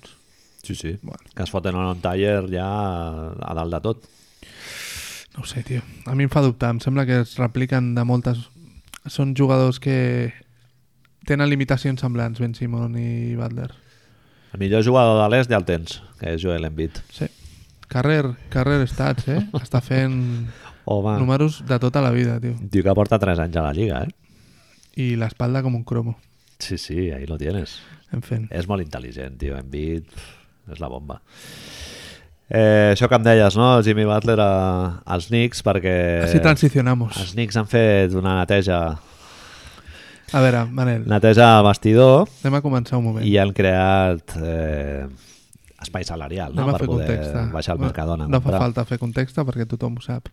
Sí, sí. Bueno. Que es foten en un taller ja a dalt de tot. No ho sé, tio. A mi em fa dubtar. Em sembla que es repliquen de moltes... Són jugadors que tenen limitacions semblants, Ben Simon i Butler. El millor jugador de l'est ja el tens, que és Joel Embiid. Sí. Carrer, carrer estats, eh? Està fent Home, números de tota la vida, tio. un tio que porta 3 anys a la Lliga, eh? I l'espalda com un cromo. Sí, sí, ahí lo tienes. En fent. És molt intel·ligent, tio. Embiid pf, és la bomba. Eh, això que em deies, no? Jimmy Butler a, als Knicks, perquè... Així transicionamos. Els Knicks han fet una neteja, A veure, Manel, neteja al vestidor anem a començar un moment. i han creat eh, espai salarial no? Anem a per fer poder contexta. baixar el No- Mercadona. a No fa comprar. falta fer contexta perquè tothom ho sap.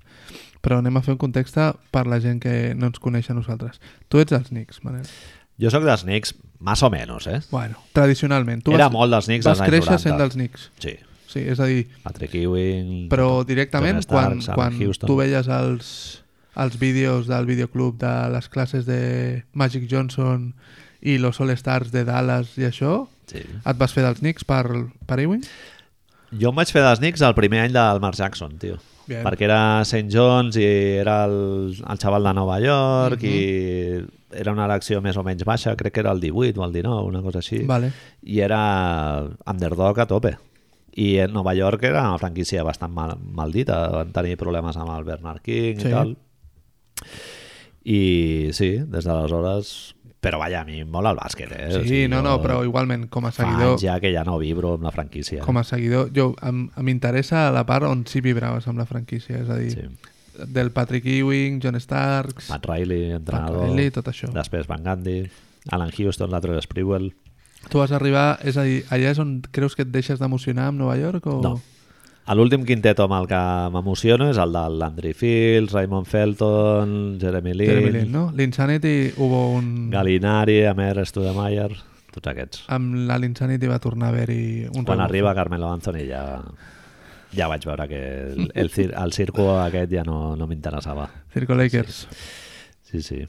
Però anem a fer un contexte per la gent que no ens coneix a nosaltres. Tu ets dels Knicks, Manel. Jo sóc dels Knicks, más o menos, eh? Bueno, tradicionalment. Tu Era vas, molt dels Knicks vas als anys créixer 90. sent dels Knicks. Sí, Sí, és a dir, Patrick Ewing... però John directament Starks, Allen quan, quan Houston. tu veies els, els vídeos del videoclub de les classes de Magic Johnson i los All-Stars de Dallas i això, Sí. et vas fer dels Knicks per, per Ewing? Jo em vaig fer dels Knicks el primer any del Mark Jackson, tio. Bien. Perquè era St. John's i era el, el xaval de Nova York Mhm. i era una elecció més o menys baixa, crec que era el 18 o el 19, una cosa així. Vale. I era underdog a tope. I en Nova York era una franquícia bastant mal, maldita, van tenir problemes amb el Bernard King Sí. i tal. I sí, des d'aleshores... Però vaja, a mi em mola el bàsquet, eh? O Sí, sigui, no, no, jo però igualment, com a Fa seguidor... anys ja que ja no vibro amb la franquícia. com a seguidor, jo em- m'interessa la part on sí vibraves amb la franquícia, és a dir, Sí. del Patrick Ewing, John Starks, Pat Riley, entrenador... Riley, tot això. Després Van Gundy, Alan Houston, Latrell Sprewell... Tu vas arribar, és a dir, allà és on creus que et deixes d'emocionar amb Nova York o... No. A L'últim quintet amb el que m'emociono és el de l'Andre Fields, Raymond Felton, Jeremy Lin, Jeremy Lin, no? Mm. L'Insanity hubo un... Galinari, Amer Studemeyer, tots aquests. Amb la l'Insanity va tornar a haver-hi Ah, un... Quan rebuf. arriba Carmelo Anthony ja, ja vaig veure que el, el, cir- el circo aquest ja no, no m'interessava. Circo Lakers. Sí, sí.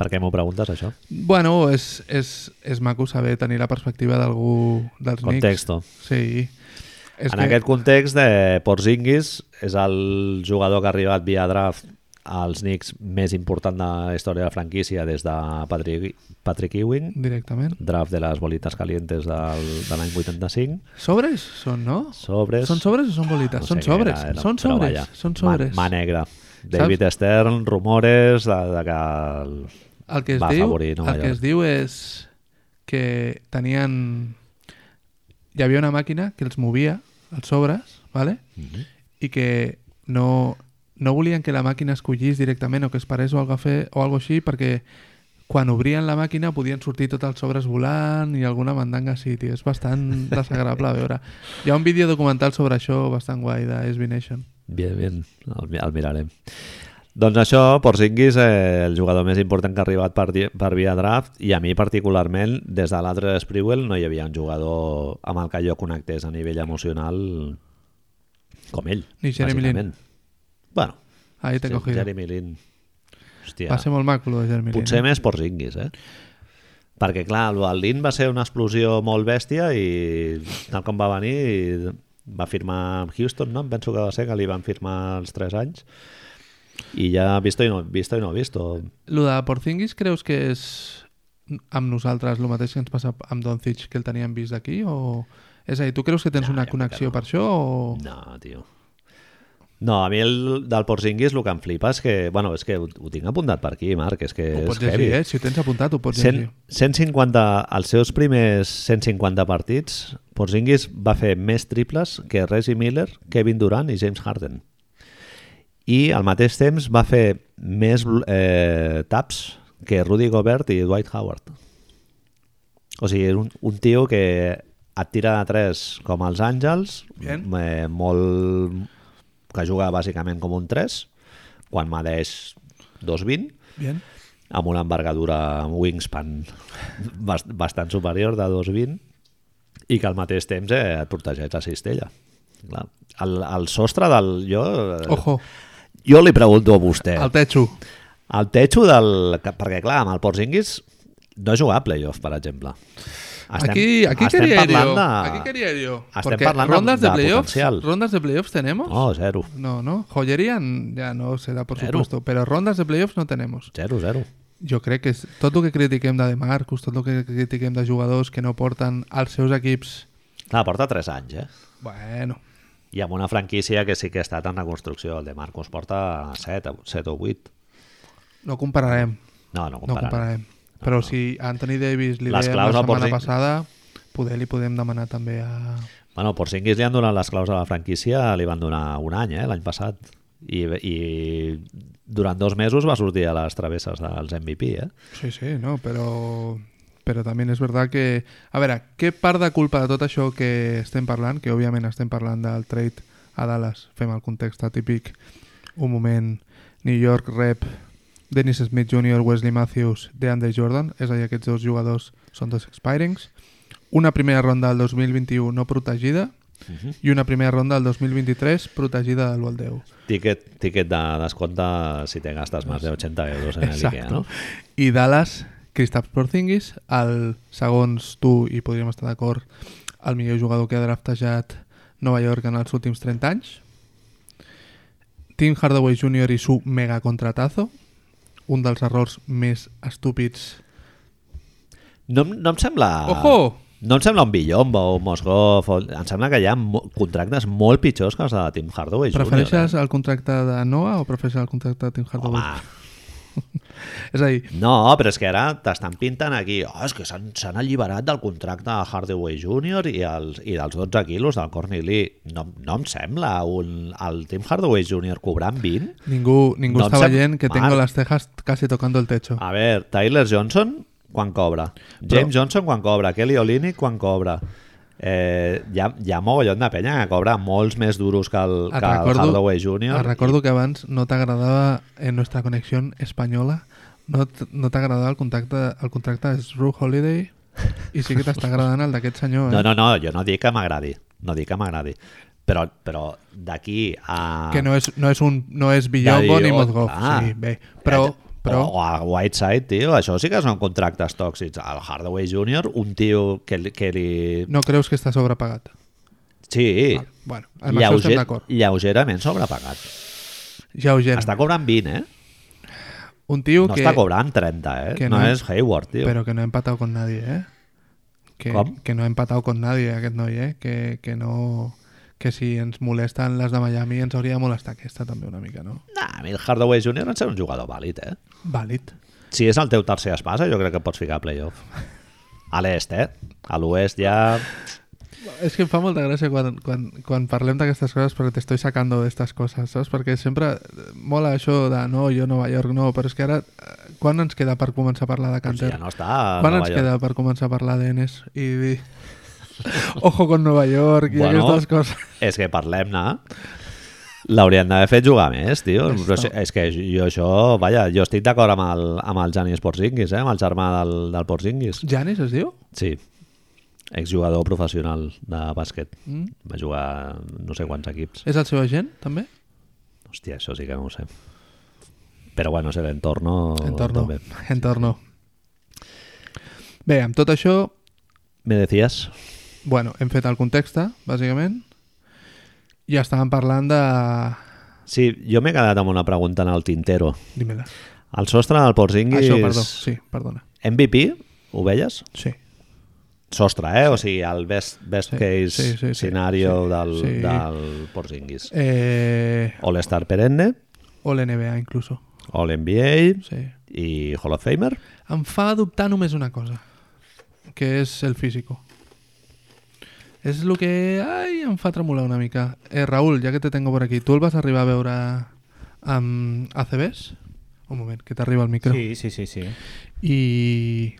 Per què m'ho preguntes, això? Bueno, és, és, és maco saber tenir la perspectiva d'algú dels Contexto. Knicks. Sí. És en que... aquest context, de Porzingis és el jugador que ha arribat via draft als Knicks més important de la història de la franquícia des de Patrick, Patrick Ewing, Directament. draft de les bolites calientes del, de l'any 85, Sobres són, no? sobres... Són sobres o són bolites? són, sobres, què són però sobres, vaja, són sobres, Ma, mà negra. David Saps? Stern, rumores de, de que... El... El que es va diu, afavorir Nova el que es York. diu és que tenien... Hi havia una màquina que els movia, els sobres, ¿vale? i que no, no volien que la màquina escollís directament o que es parés o algo, a fer, o algo així perquè quan obrien la màquina podien sortir tots els sobres volant i alguna mandanga sí, tio. És bastant desagradable a veure. Hi ha un vídeo documental sobre això bastant guai de SB Nation. Bien, bien, el, mi- el mirarem. Doncs això, Porzingis, eh, el jugador més important que ha arribat per, di- per via draft, i a mi particularment, des de l'altre Sprewell, no hi havia un jugador amb el que jo connectés a nivell emocional com ell, Ni Jeremy Lin. bàsicament. Bueno, Ahí te he cogido. Jeremy Lin. Hòstia, Va ser molt maco, lo de Jeremy Lin. potser més Porzingis, eh? Perquè, clar, el- el Lin va ser una explosió molt bèstia i tal com va venir va firmar amb Houston, no? Em penso que va ser que li van firmar els 3 anys i ja visto i no visto, i no visto. Lo de Porzingis creus que és amb nosaltres el mateix que ens passa amb Doncic que el teníem vist d'aquí? O... És a dir, tu creus que tens No, una jo crec que connexió no. per això? O... No, tio. No, a mi el, del Porzingis el que em flipa és que... Bueno, és que ho, ho tinc apuntat per aquí, Marc, és que ho és pots llegir, heavy. eh? Si ho tens apuntat, ho pots 100, llegir. 150, els seus primers 150 partits, Porzingis va fer més triples que Reggie Miller, Kevin Durant i James Harden. I al mateix temps va fer més bl- eh, taps que Rudy Gobert i Dwight Howard. O sigui, és un, un tio que et tira de tres com els Àngels, Bien. eh, molt, que juga bàsicament com un 3, quan medeix 2'20, Bien. amb una envergadura amb wingspan bas- bastant superior de 2,20 i que al mateix temps eh, et protegeix la cistella. Clar. El, el sostre del... Jo, eh, Ojo, jo li pregunto a vostè. El, al techo. el techo del... que- Perquè, clar, amb el Porzingis no jugar a playoff, per exemple. aquí, aquí estem quería ir parlant yo. de... Aquí quería ir yo. estem Porque parlant de- rondas de, de playoffs, potencial. rondas de playoffs tenemos. No, zero. No, no. Joyería n- ya no será, por Claro. supuesto. Pero rondas de playoffs no tenemos. Zero, zero. Jo crec que és, tot el que critiquem de De Marcus, tot el que critiquem de jugadors que no porten als seus equips... Clar, porta 3 anys, eh? Bueno, I amb una franquícia que sí que ha estat en reconstrucció. El de Marcos porta 7, 7 o 8. no compararem. No, no No compararem. compararem. Però si Anthony Davis li Les dèiem la claus a setmana Porzing- passada, poder li podem demanar també a... Bueno, Porzingis li han donat les claus a la franquícia, li van donar un any, eh, l'any passat. I, I durant dos mesos va sortir a les travesses dels MVP, eh? Sí, sí, no, però... Però també és veritat que... A veure, què part de culpa de tot això que estem parlant, que òbviament estem parlant del trade a Dallas, fem el context atípic, un moment, New York rep Dennis Smith Jr., Wesley Matthews, DeAndre Jordan, és a dir, aquests dos jugadors són dos expirings, una primera ronda del 2021 no protegida i una primera ronda del 2023 protegida del 1 al 10. Tiquet, tiquet de descompte si te gastes més de 80 euros en el Ikea, no? I Dallas, Kristaps Porzingis, el, segons tu, i podríem estar d'acord, el millor jugador que ha draftejat Nova York en els últims 30 anys. Tim Hardaway Jr. i su mega contratazo, un dels errors més estúpids. No, em- no em sembla... Ojo! No em sembla un Billombo o un Mosgov. O... Em sembla que hi ha mo contractes molt pitjors que els de Tim Hardaway. Jr., Prefereixes eh? el contracte de Noah o prefereixes el contracte de Tim Hardaway? Home, És a dir, No, però és que ara t'estan pintant aquí. Oh, és que s'han s'han alliberat del contracte de Hardaway Jr. i, els, i dels 12 quilos del Corny Lee. No, no em sembla un, el Tim Hardaway Jr. cobrant 20. ningú, ningú No em no està sap- veient que Marc. tengo las cejas casi tocando el techo. A veure, Tyler Johnson, quan cobra? James Johnson, quan cobra? Kelly Olynyk, quan cobra? Eh, hi, ha, hi ha mogollon de penya que cobra molts més duros que el, que Et el Hardaway Jr. et recordo que abans no t'agradava en nostra connexió espanyola no t- no t'agradava el contacte el contracte de Drew Holiday i sí que t'està agradant el d'aquest senyor eh? No, no, no, jo no dic que m'agradi. No dic que m'agradi. Però, però d'aquí a... que no és, no és, un, no és Billombo Ja ni diu, Mozgov clar. "Oh, sí, bé, però, però O, o a Whiteside, tio, això sí que són contractes tòxics. Al Hardaway Jr., un tio que, li- que li... no creus que està sobrepagat oh". Sí, Val, bueno, Ah, amb això estem d'acord lleugerament sobrepagat. lleugerament, Està cobrant 20, eh? un tio No que, està cobrant 30, eh? que no, no- és Hayward, tio. Pero que no ha empatado con nadie, ¿eh? Que, Com? que no ha empatado con nadie aquest noi, eh? Que, que no... Que si ens molesten les de Miami ens hauria de molestar aquesta també una mica, no? Nah, a mi el Hardaway Jr. em sembla un jugador vàlid, eh? Vàlid. Si és el teu tercer espasa, jo crec que pots ficar a playoff. A l'est, eh? A l'oest ja... És que em fa molta gràcia quan, quan, quan parlem d'aquestes coses perquè t'estoy sacando d'aquestes coses, saps? Perquè sempre eh, mola això de no, jo Nova York no, però és que ara eh, quan ens queda per començar a parlar de Pues Canter? ja no està a quan Nova ens York. queda per començar a parlar d'Enes i dir ojo con Nova York i bueno, aquestes coses? És que parlem-ne. L'haurien d'haver fet jugar més, tio. Però això- és que jo això... Vaja, jo estic d'acord amb el, amb el Janis Porzingis, eh? amb el germà del, del Porzingis. Janis es diu? Sí. Exjugador professional de bàsquet. Mm. Va jugar no sé quants equips. És el seu agent, també? Hòstia, això sí que no ho sé. Però bueno, és l'entorno... Oh, Entorno. també. Entorno. Bé, amb tot això, Me decías... bueno, hem fet el context, bàsicament, i estàvem parlant de... Sí, jo m'he quedat amb una pregunta en el tintero. Dime-la. El sostre del Porzingis... Això, perdó. Sí, perdona. MVP, ho veies? Sí. Sostre, eh? O sigui, el best, best Sí, case sí, sí, sí, scenario sí, del, sí. del Porzingis. Eh, All-Star perenne, o l'NBA, incluso. All-NBA Sí. i Hall of Famer. Em fa dubtar només una cosa, que és el físico. És el que... Ai, em fa tremolar una mica. Eh, Raül, ja que te tengo por aquí, tu el vas arribar a veure amb ACBs? Un moment, que t'arriba el micro. Sí, sí, sí, sí. I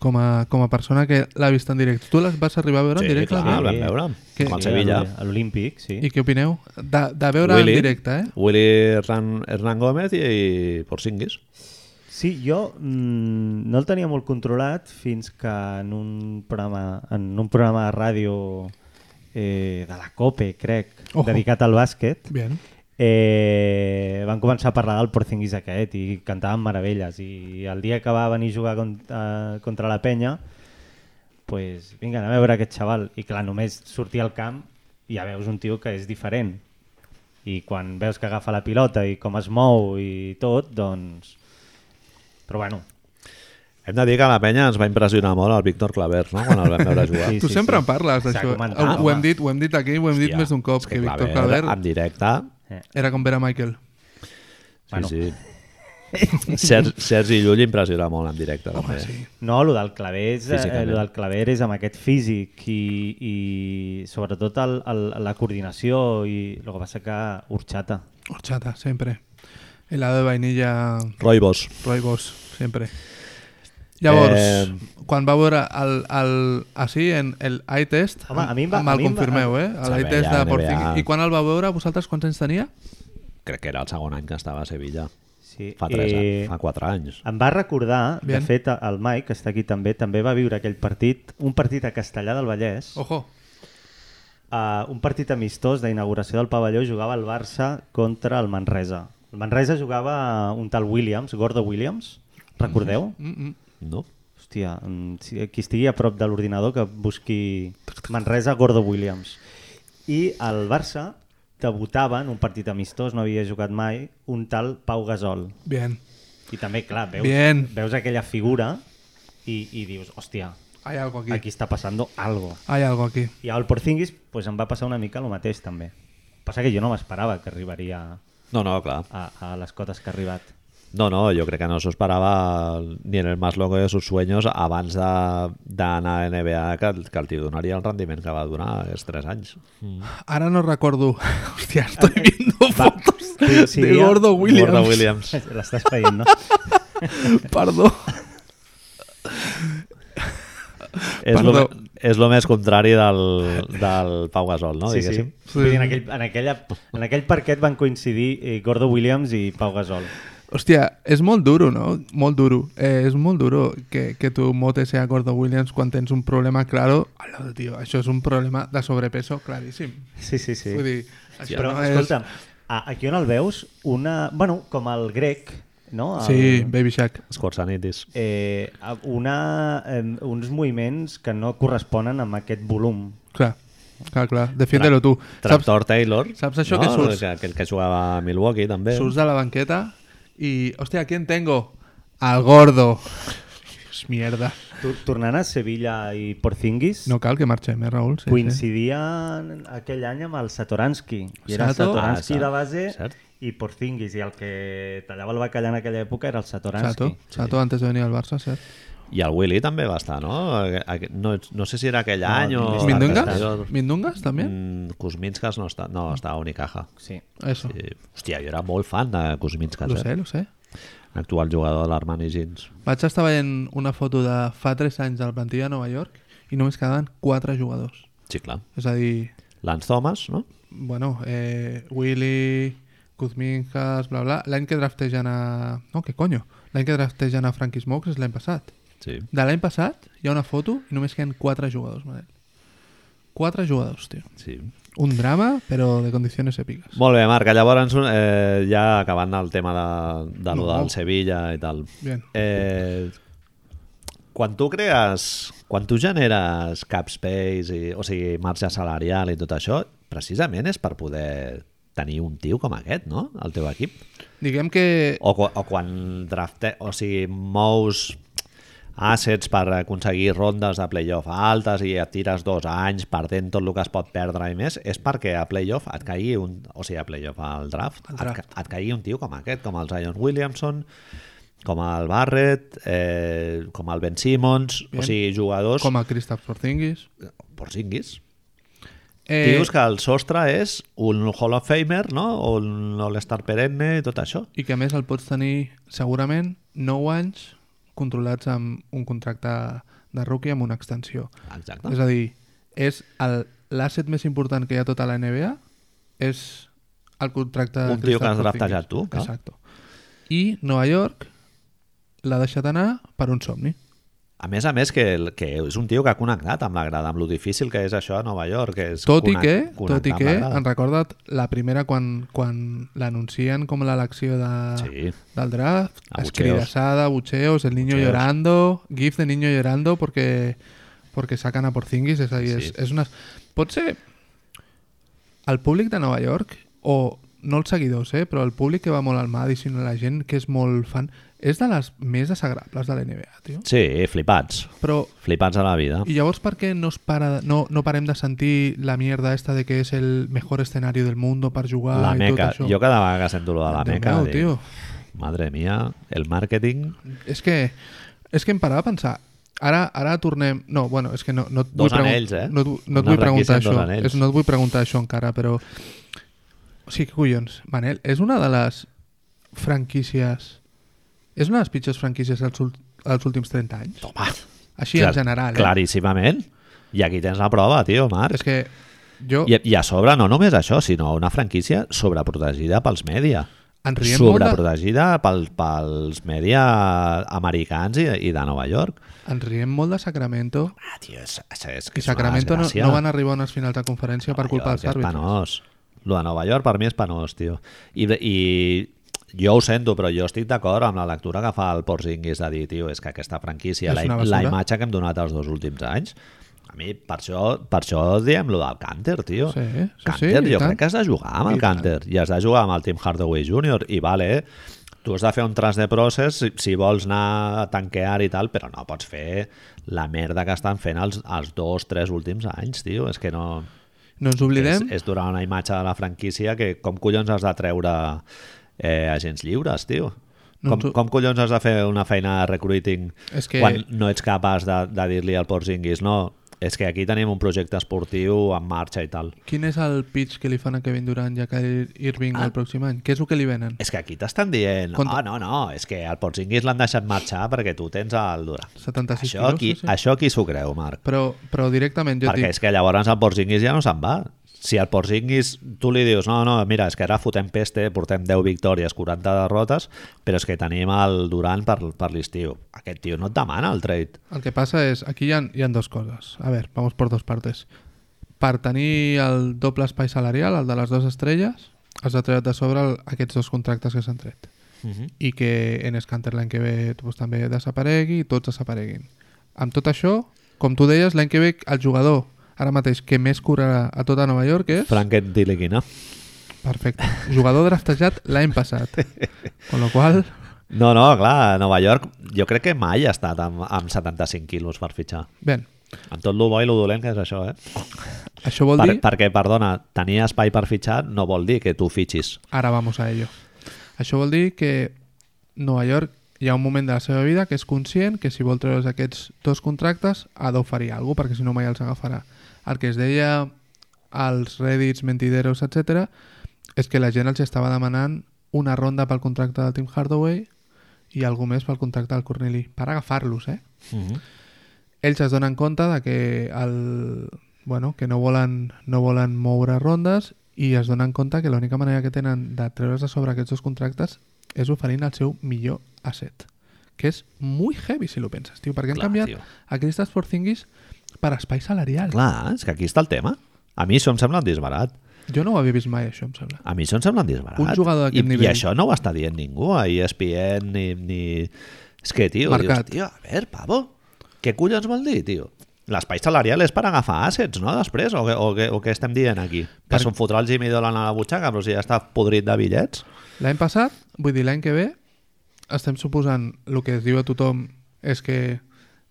com a, com a persona que l'ha vist en directe, tu les vas arribar a veure en Sí, directe? clar, també? el vam veure. Que- Amb el Sí, Sevilla. a l'Oli- A l'Olímpic, sí. I què opineu? De, de veure Willy. en directe, eh? Willy Hernán, Hernán Gómez i, i Porzingis. Sí, jo mm, no el tenia molt controlat fins que en un programa, en un programa de ràdio eh, de la COPE, crec, Ojo. dedicat al bàsquet, Bien. eh, van començar a parlar del Porzingis aquest i cantaven meravelles i el dia que va venir a jugar contra, contra la penya pues, vinga, anem a veure aquest xaval i clar, només sortir al camp i ja veus un tio que és diferent i quan veus que agafa la pilota i com es mou i tot, doncs però bueno, Hem de dir que a la penya ens va impressionar molt el Víctor Claver, no? Quan el vam veure jugar. Sí, Tu sempre en parles S'ha d'això. comentat, Ho, ho, hem home. dit, ho hem dit aquí, ho hem dit Hòstia, més d'un cop, és que, Víctor Claver, Calver En directe... era com Vera Michael. Sí, Bueno. sí. Ser, Sergi Llull impressiona molt en directe. Home, també. Sí. No, el del claver és, eh, Físicament. lo del claver és amb aquest físic i, i sobretot el, el, la coordinació i el que passa que Urxata. Horchata, sempre. Helado de vainilla, Roibos. roibos, sempre. Llavors, Eh, quan va veure el, el, així, en el eye test, Home, a mi em va- a me'l mi em va- confirmeu, eh? Se L'eye veia, test de n'hi Porzingis. veia. I quan el va veure, vosaltres quants anys tenia? Crec que era el segon any que estava a Sevilla. Sí. Fa 3 eh... anys, fa 4 anys. Em va recordar, Bien. de fet, el Mike, que està aquí també, també va viure aquell partit, un partit a Castellà del Vallès, oh. Ojo. uh, un partit amistós d'inauguració del pavelló, jugava el Barça contra el Manresa. El Manresa jugava un tal Williams, Gordo Williams, recordeu? Mm -mm. No? Hòstia, mm, si- qui estigui a prop de l'ordinador que busqui Manresa Gordo Williams. I el Barça debutava en un partit amistós, no havia jugat mai, un tal Pau Gasol. Bien. I també, clar, veus, Bien. veus aquella figura i, i dius, hòstia, Hay algo aquí. aquí està passant algo. Hay algo aquí. I al Porzingis pues, em va passar una mica el mateix també. Passa que jo no m'esperava que arribaria No, no, clar. a, a les cotes que ha arribat. No, no, jo crec que no s'ho esperava ni en el más loco de sus sueños abans de- d'anar a NBA que, el- que el tio donaria el rendiment que va donar aquests 3 anys. Ahora no recuerdo. Hostia, estoy viendo Va, fotos sí, sí, de ja. Gordo Williams. Gordo Williams. L'estàs veient, no? Perdó. És lo, Perdó. és lo més contrari del, del Pau Gasol, no? sí, sí. Diguéssim. Vull dir, en, aquell, en, aquella, en aquell parquet van coincidir eh, Gordo Williams i Pau Gasol. Hostia, es molt duro, no? Molt duro. Eh, és molt duro que, que tu mote sea Gordo Williams quan tens un problema claro. Al lado, tío, això és un problema de sobrepeso claríssim. Sí, sí, sí. Vull dir, això Però, no escolta'm, a, aquí on el veus, una... Bueno, com el grec, no? és... El, Sí, Baby Shark. Scorsanitis. Eh, a- una, eh, uns moviments que no corresponen amb aquest volum. Clar, clar, clar. Defiende-lo tu. Saps, Tractor Taylor. saps això no? que surts? Que, que, que jugava a Milwaukee, també. surts de la banqueta i... Hostia, ¿quién tengo? Al Gordo. Dios, mierda. Tor- Tornant a Sevilla i Porzingis, No cal que marxem, eh, Raül? Sí, sí. coincidien aquell any amb el Satoransky. I era Sato? Satoransky Ah, de cert, base cert. i Porzingis. I el que tallava el bacallà en aquella època era el Satoransky. Sato, Sato antes de venir al Barça, cert. I el Willy també va estar, no? Aqu- No, no sé si era aquell No, any o... ¿Mindungas? l'anterior. ¿Mindungas también? Mm, Kuzminskas no està, no, està a Unicaja. Sí. Eso. Eh, hòstia, jo era molt fan de Kuzminskas, Lo sé, eh? lo sé. actual jugador de l'Armani Jeans. Vaig estar veient una foto de fa 3 anys de la plantilla de Nova York i només quedaven 4 jugadors. Sí, clar. És a dir, Lance Thomas, no? bueno, eh, Willy, Kuzminkas, bla bla, l'any que draftegen a... No, que coño? L'any que draftegen a Frankie Smokes és l'any passat. Sí. De l'any passat hi ha una foto i només queden 4 jugadors, Manel. 4 jugadors, tio. sí. Un drama, però de condicions èpiques. Molt bé, Marc, llavors eh, ja acabant el tema de, de lo No. del Sevilla i tal. Bien. Eh, quan tu crees, quan tu generes cap space, i, o sigui, marge salarial i tot això, precisament és per poder tenir un tio com aquest, no?, al teu equip. Diguem que... O, qu- o quan drafte, o sigui, mous assets per aconseguir rondes de playoff altes i et tires dos anys perdent tot el que es pot perdre i més, és perquè a playoff et caigui un... O sigui, a playoff al draft, Al draft. draft. Et, ca- et caigui un tio com aquest, com el Zion Williamson, com el Barrett, eh, com el Ben Simmons, Bien. Bien. o sigui, jugadors... Com a Kristaps Porzingis. Porzinguis. Eh... Dius que el sostre és un Hall of Famer, no? O un All-Star perenne i tot això. I que a més el pots tenir segurament 9 anys controlats amb un contracte de rookie amb una extensió. Exacte. És a dir, és el- l'asset més important que hi ha a tota la NBA és el contracte de Un tio que Kristaps has Porzingis. draftejat tu, clar. Exacto. I Nova York l'ha deixat anar per un somni. A més a més, que, el- que és un tio que ha connectat amb la grada, amb lo difícil que és això a Nova York. Que és Tot i connec- que, connectar tot i amb que la grada. han recordat la primera quan, quan l'anuncien com l'elecció de, Sí. del draft, A bucheos. escridasada, bucheos, el niño Bucheos. llorando, gif de niño llorando porque, porque sacan a Porzingis, és a dir, Sí. és, és una... Pot ser el públic de Nova York, o no els seguidors, eh, però el públic que va molt al Madison, la gent que és molt fan, és de les més desagradables de la NBA, tio. Sí, flipats. Però Flipats a la vida. i llavors per què no, es para, no, no parem de sentir la mierda esta de que és el mejor escenari del món per jugar la i Meca. tot això? Jo cada vegada que sento lo de la Déu Meca, meu, dic, tio. madre mia, el màrqueting... És que, és que em parava a pensar. Ara, ara tornem... No, bueno, és que no, no et Dos vull pregun- anells, eh? No, et vu- no et Una vull preguntar franquícia això. amb dos anells. És, no et vull preguntar això encara, però... O sigui, que collons, Manel, és una de les franquícies... És una de les pitjors franquícies dels, ult- dels últims 30 anys? Home, Així, en general, eh? Claríssimament. I aquí tens la prova, tio, Marc. És que jo... I, I a sobre, no només això, sinó una franquícia sobreprotegida pels mèdia. En riem molt de- Sobreprotegida pel, pels mèdia americans i, i de Nova York. Ens riem molt de Sacramento Ah, tio, és, és, és, i és una Sacramento no, desgràcia. no van arribar a unes finals de conferència per culpa dels és àrbitres. penós. Lo de Nova York per mi és penós, tio. I, i jo ho sento, però jo estic d'acord amb la lectura que fa el Porzingis de dir, tio, és que aquesta franquícia, És la, una la basura. imatge que hem donat els dos últims anys, a mi, per això, per això diem lo del Canter, tio. Sí, sí, sí, Canter, i jo tant. crec que has de jugar amb el I tant. Canter i has de jugar amb el Tim Hardaway Jr. I vale, tu has de fer un tras de process si, si vols anar a tanquear i tal, però no pots fer la merda que estan fent els, els dos, tres últims anys, tio. És que no... No ens oblidem... És, és donar una imatge de la franquícia que com collons has de treure eh, agents lliures, tio? No, Com, tu- com collons has de fer una feina de recruiting És que- quan no ets capaç de, de dir-li al Porzingis no, és que aquí tenim un projecte esportiu en marxa i tal. Quin és el pitch que li fan a Kevin Durant i a Kyrie Irving ah. el pròxim any? Què és el que li venen? És que aquí t'estan dient, no, Contra- no, no, és que el Porzingis l'han deixat marxar perquè tu tens el Durant. 76 Això quilos, qui, sí, sí. això qui s'ho creu, Marc? Però, però directament jo et Perquè dic... és que llavors el Porzingis ja no se'n va. Si el Porzingis tu li dius, no, no, mira, és que ara fotem peste, portem 10 victòries, 40 derrotes, però és que tenim el Durant per, per l'estiu. Aquest tio no et demana el trade. El que passa és... Aquí hi ha, hi ha dues coses. A veure, vamos por dos partes. Per tenir el doble espai salarial, el de les dues estrelles, has de treure de sobre el, aquests dos contractes que s'han tret. Uh -huh. I que en Scanter l'any que ve doncs, també desaparegui i tots desapareguin. Amb tot això, com tu deies, l'any que ve el jugador ara mateix que més curarà a tota Nova York és... Franket Dilequina. Perfecte. Jugador draftejat l'any passat. Con lo qual, No, no, clar, a Nova York jo crec que mai ha estat amb, amb 75 quilos per fitxar. ben, Amb tot lo bo i lo dolent que és això, eh? això vol Per, dir... perquè, perdona, tenir espai per fitxar no vol dir que tu fitxis. Ara vamos a ello. Això vol dir que Nova York hi ha un moment de la seva vida que és conscient que si vol treure's aquests dos contractes ha d'oferir alguna cosa perquè si no mai els agafarà. El que es deia als Reddits, mentideros, etc és que la gent els estava demanant una ronda pel contracte del Tim Hardaway i algú més pel contracte del Corneli per agafar-los, eh? ells es donen compte de que el, bueno, que no volen, no volen moure rondes i es donen compte que l'única manera que tenen de treure's de sobre aquests dos contractes és oferint el seu millor asset que és muy heavy si lo penses, tio, perquè han Clar, canviat tio. aquestes forcinguis per espai salarial. Clar, és que aquí està el tema. A mi això em sembla un disbarat. Jo no ho havia vist mai, això, em sembla. A mi això em sembla un disbarat. Un jugador d'aquest I, nivell. I això no ho està dient ningú a E ESPN ni... ni... És que, tio, dius, Mercat. tio, a veure, pavo, què collons vol dir, tio? L'espai salarial és per agafar assets, no?, després, o, què- o, què- o què estem dient aquí? Que Per- se'n fotrà el Jimmy Dolan a la butxaca, però si ja està podrit de bitllets. L'any passat, vull dir, l'any que ve, estem suposant el que es diu a tothom és que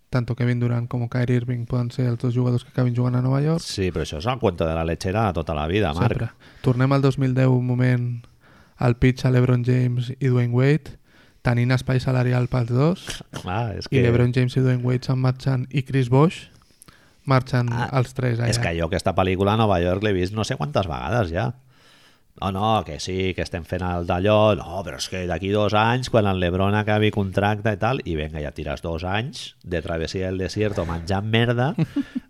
tanto Kevin Durant com Kyrie Irving poden ser els dos jugadors que acabin jugant a Nova York. Sí, però això és el cuento de la lechera de tota la vida, Marc. Sempre. Tornem al 2010, un moment, al pitch a LeBron James i Dwayne Wade, tenint espai salarial pels dos, Clar, és que... que... i LeBron James i Dwayne Wade se'n marxen, i Chris Bosh marxen Ah, ah, els tres allà. És que jo aquesta pel·lícula a Nova York l'he vist no sé quantes vegades ja. No, no, que sí, que estem fent el d'allò, no, però és que d'aquí dos anys, quan el Lebron acabi contracte i tal, i venga, ja tires dos anys de travessia del desierto menjant merda,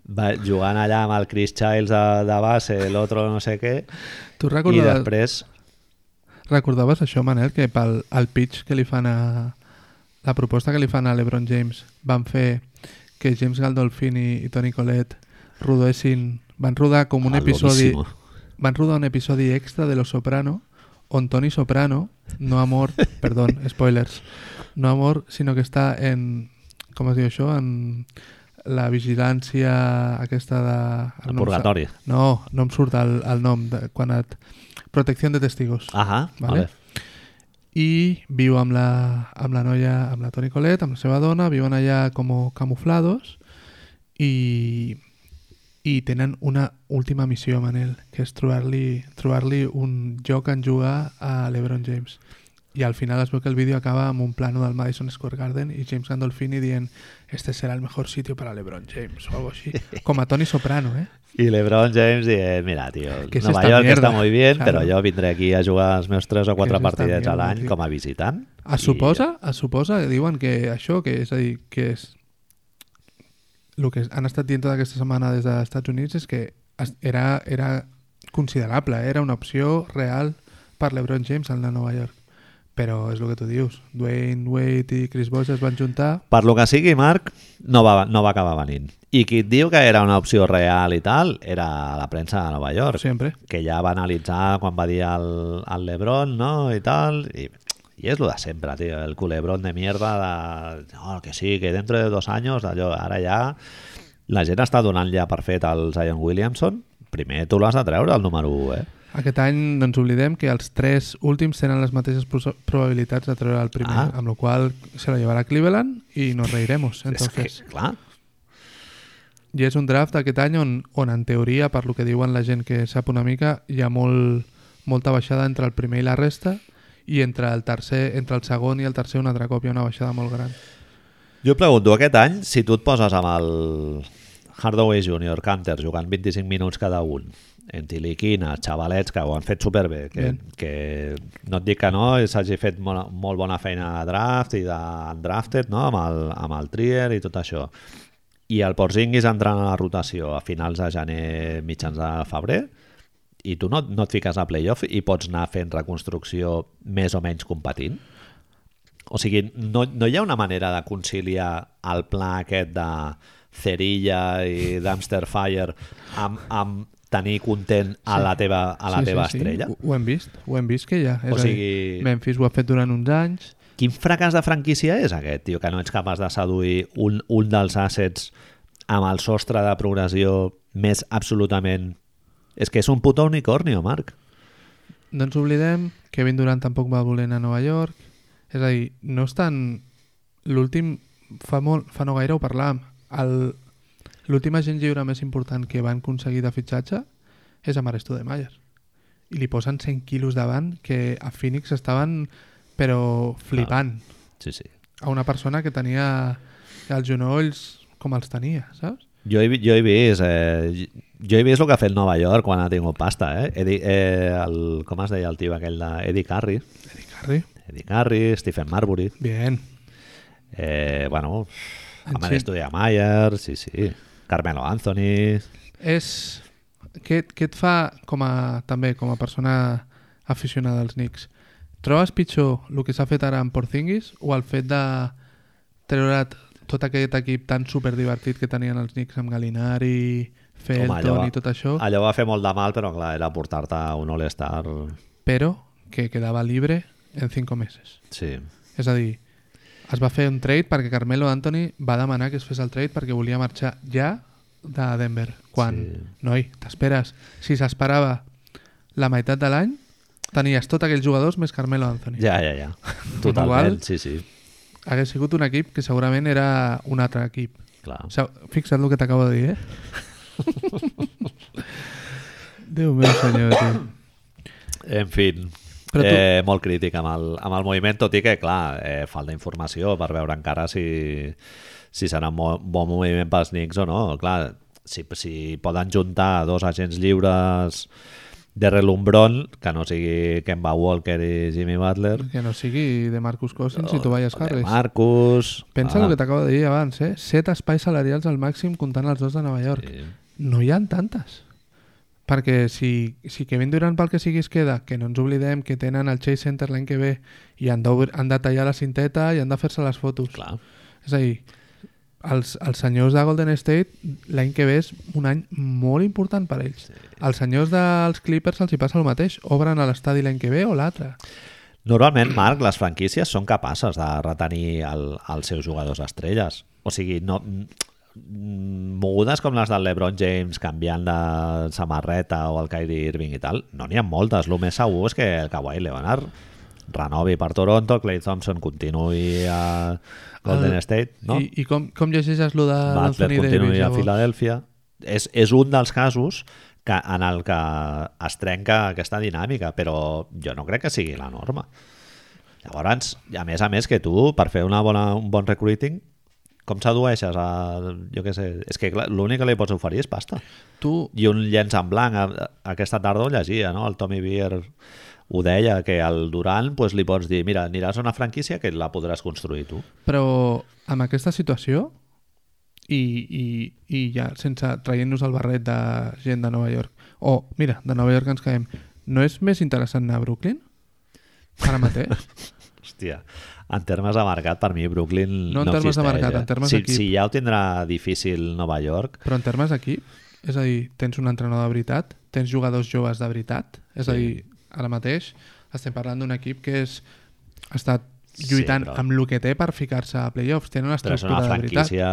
va, jugant allà amb el Chris Childs de, de base, l'altre no sé què, Tu i recordaves, després... després... recordaves això, Manel, que pel el pitch que li fan a... la proposta que li fan a LeBron James van fer que James Gandolfini i Tony Collette rodessin van rodar com un Ah, episodi loquíssimo. van rodar un episodi extra de Los Soprano on Tony Soprano no ha mort, perdón, spoilers, no ha mort, sinó que està en, com es diu això, en la vigilància aquesta de... El no em sa- purgatori. No, no em surt el, el nom, de, quan et... Protecció de testigos. Ahà, vale. Vale. I viu amb la, amb la noia, amb la Toni Colette, amb la seva dona, viuen allà com camuflados i, i tenen una última missió, Manel, que és trobar-li trobar un joc en jugar a l'Ebron James. I al final es veu que el vídeo acaba amb un plano del Madison Square Garden i James Gandolfini dient este serà el mejor sitio para LeBron James o algo així. Com a Tony Soprano, eh? Y LeBron James dice, mira, tío, ¿Qué es Nova esta York mierda? está muy bien, Claro. pero yo vendré aquí a jugar els meus tres o quatre és esta partidets a mierda, l'any tio? Ah, com a visitant. Es i- suposa, es suposa, diuen que això, que és a dir, que és... El que han estat dient tota aquesta setmana des dels Estats Units és que es- era, era considerable, era una opció real per l'Ebron James al de Nova York. Però és el que tu dius, Dwayne Wade i Chris Bosh es van juntar, Per lo que sigui, Marc, no va, no va acabar venint. I qui et diu que era una opció real i tal, era la premsa de Nova York, sempre. que ja va analitzar quan va dir el, el Lebron, no?, i tal, i, i és lo de sempre, tio, el culebrón de mierda de... No, que sí, que dentro de dos anys, allò, ara ja... La gent està donant ja per fet al Zion Williamson, primer tu l'has de treure, el número 1, eh? Aquest any no ens oblidem que els tres últims tenen les mateixes pro- probabilitats de treure el primer, Ah. ah. amb la qual cosa se la llevarà Cleveland i nos reiremos. Entonces, És que, clar, I és un draft aquest any on, on en teoria, per lo que diuen la gent que sap una mica, hi ha molt, molta baixada entre el primer i la resta i entre el tercer, entre el segon i el tercer un altre cop hi ha una baixada molt gran. Jo pregunto aquest any si tu et poses amb el Hardaway Jr. Canter jugant 25 minuts cada un Entiliquina, xavalets que ho han fet superbé que, Bien. que no et dic que no s'hagi fet molt, molt bona feina de draft i d'undrafted no? amb, el, amb el trier i tot això i el Porzingis entrant a la rotació a finals de gener, mitjans de febrer i tu no, no et fiques a playoff i pots anar fent reconstrucció més o menys competint? O sigui, no, no hi ha una manera de conciliar el pla aquest de Cerilla i Dumpster Fire amb, amb tenir content a la teva, a la teva estrella? Ho, ho hem vist, ho hem vist que ja. O És a dir, sigui- Memphis ho ha fet durant uns anys, Quin fracàs de franquícia és aquest, tio, que no ets capaç de seduir un, un dels assets amb el sostre de progressió més absolutament... És que és un puto unicornio, Marc. no ens Doncs oblidem, Kevin Durant tampoc va voler anar a Nova York, és a dir, no estan... L'últim, fa, molt, fa no gaire ho parlàvem, el- l'últim agent lliure més important que van aconseguir de fitxatge és a Maresto de Mayer. I li posen 100 quilos davant que a Phoenix estaven però flipant. Sí, sí. a una persona que tenia els genolls com els tenia, saps? Jo he, vi- jo he vist... Eh, jo he vist el que ha fet Nova York quan ha tingut pasta, eh? Eddie, eh el, com es deia el tio aquell de Eddie Carey? Eddie Carrey. Eddie Carey, Stephen Marbury... Bien. Eh, bueno, En amb sí. l'Estudia Mayer, sí, sí. Carmelo Anthony... És... Què, què et fa com a, també com a persona aficionada als Knicks? Trobes pitjor el que s'ha fet ara amb Porzingis o el fet de treure't tot aquest equip tan superdivertit que tenien els Knicks amb Galinari, Felton i tot això, allò va fer molt de mal, però clar, era portar-te un All-Star... però que quedava libre en 5 mesos. Sí. És a dir, es va fer un trade perquè Carmelo Anthony va demanar que es fes el trade perquè volia marxar ja de Denver. Quan, Sí. sí. noi, t'esperes. Si s'esperava la meitat de l'any, tenies tots aquells jugadors més Carmelo Anthony. Ja, ja, ja. Totalment, Igual. sí, sí. Hagués sigut un equip que segurament era un altre equip. Clar. O sigui, fixa't el que t'acabo de dir, eh? Déu meu senyor, tio. En fi, Però tu- eh, molt crític amb el, amb el moviment, tot i que, clar, eh, falta informació per veure encara si, si serà un mo- bon moviment pels Knicks o no. Clar, si, si poden juntar dos agents lliures de relumbron, que no sigui Kemba Walker i Jimmy Butler, Que no sigui de Marcus Cousins i Tobias o de Harris. Marcus... Pensa el Ah, que t'acabo de dir abans, eh? Set espais salarials al màxim comptant els dos de Nova York. sí. No hi han tantes. Perquè si, si Kevin Durant pel que sigui es queda, que no ens oblidem que tenen el Chase Center l'any que ve i han de, han de tallar la cinteta i han de fer-se les fotos. Clar. És a dir, els, els senyors de Golden State l'any que ve és un any molt important per a ells. Sí. Els senyors dels Clippers els hi passa el mateix. Obren a l'estadi l'any que ve o l'altre. Normalment, Marc, les franquícies són capaces de retenir el, els seus jugadors estrelles. O sigui, no, mm, mogudes com les del LeBron James canviant de samarreta o el Kyrie Irving i tal, no n'hi ha moltes. El més segur és que el Kawhi Leonard renovi per Toronto, Clay Thompson continuï a Golden El- State, no? I, i com, com llegeixes lo de Butler l'Anthony Davis? continuï a llavors? Filadèlfia. És, és un dels casos que, en el que es trenca aquesta dinàmica, però jo no crec que sigui la norma. Llavors, a més a més, que tu, per fer una bona, un bon recruiting, com sedueixes a... Jo què sé, és que clar, l'únic que li pots oferir és pasta. Tu, I un llenç en blanc, a- a- aquesta tarda ho llegia, no? el Tommy Beer ho deia, que al Durant pues, li pots dir, mira, aniràs a una franquícia que la podràs construir tu. Però amb aquesta situació i, i, i ja sense traient-nos el barret de gent de Nova York o mira, de Nova York ens caiem no és més interessant anar a Brooklyn? ara mateix? Hòstia, en termes de mercat, per mi Brooklyn No no, en termes de existeix, mercat, eh? en termes si, d'equip. si ja ho tindrà difícil Nova York, però en termes d'equip és a dir, tens un entrenador de veritat tens jugadors joves de veritat és a dir, ara mateix estem parlant d'un equip que és, ha estat Sí, lluitant sí, però- però... amb el que té per ficar-se a playoffs tenen una però és una estructura de veritat franquícia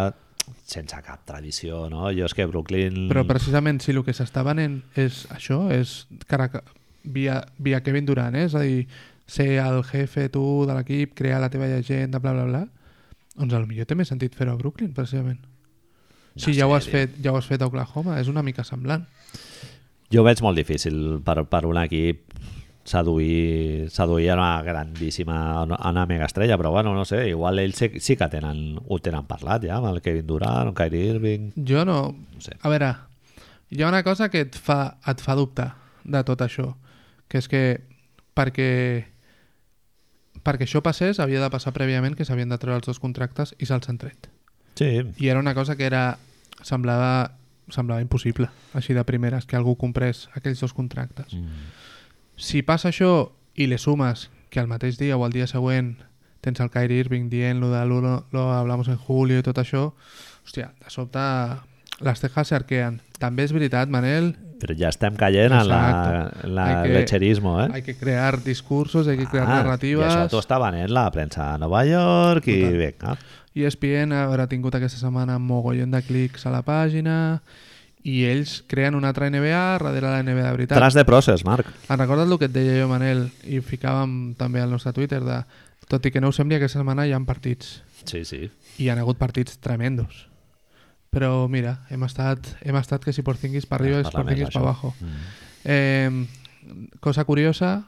sense cap tradició, no? Jo és que Brooklyn... Però precisament si el que s'està venent és això, és cara, via, via Kevin Durant, eh? és a dir, ser el jefe tu de l'equip, crear la teva llegenda, bla, bla, bla, doncs a lo millor té més sentit fer-ho a Brooklyn, precisament. Si ja, ho has sé, fet, ja ho has fet a Oklahoma, és una mica semblant. Jo ho veig molt difícil per, per un equip seduir, seduir a una grandíssima, a una mega estrella, però bueno, no sé, igual ells sí, sí que tenen, ho tenen parlat ja, amb el Kevin Durant, el Kyrie Irving... Jo no... sé. A veure, hi ha una cosa que et fa, et fa dubtar de tot això, que és que perquè perquè això passés havia de passar prèviament que s'havien de treure els dos contractes i se'ls han tret. Sí, I era una cosa que era semblava, semblava impossible, així de primeres, que algú comprés aquells dos contractes. Mm. Si passa això i le sumes que al mateix dia o al dia següent tens el Kyrie Irving dient lo de lo, lo, lo hablamos en julio i tot això, hòstia, de sobte les tejas s'arqueen. També és veritat, Manel, però ja estem caient en la, Exacte. en la Hay que- lecherismo, eh? hay que crear discursos, hay que crear Ah, I narratives... això t'ho està venent la premsa de Nova York i Total. vinga. ESPN haurà tingut aquesta setmana mogollon de clics a la pàgina i ells creen una altra NBA darrere la NBA de veritat. Tras de process, Marc. Em Ah, recordes el que et deia jo, Manel, i ficàvem també al nostre Twitter de... Tot i que no us sembli, aquesta setmana hi han partits. Sí, sí. I hi han hagut partits tremendos. Però mira, hem estat, hem estat que si Porzingis per arriba Ah, és parla més, Porzingis per això. abajo. Eh, cosa curiosa,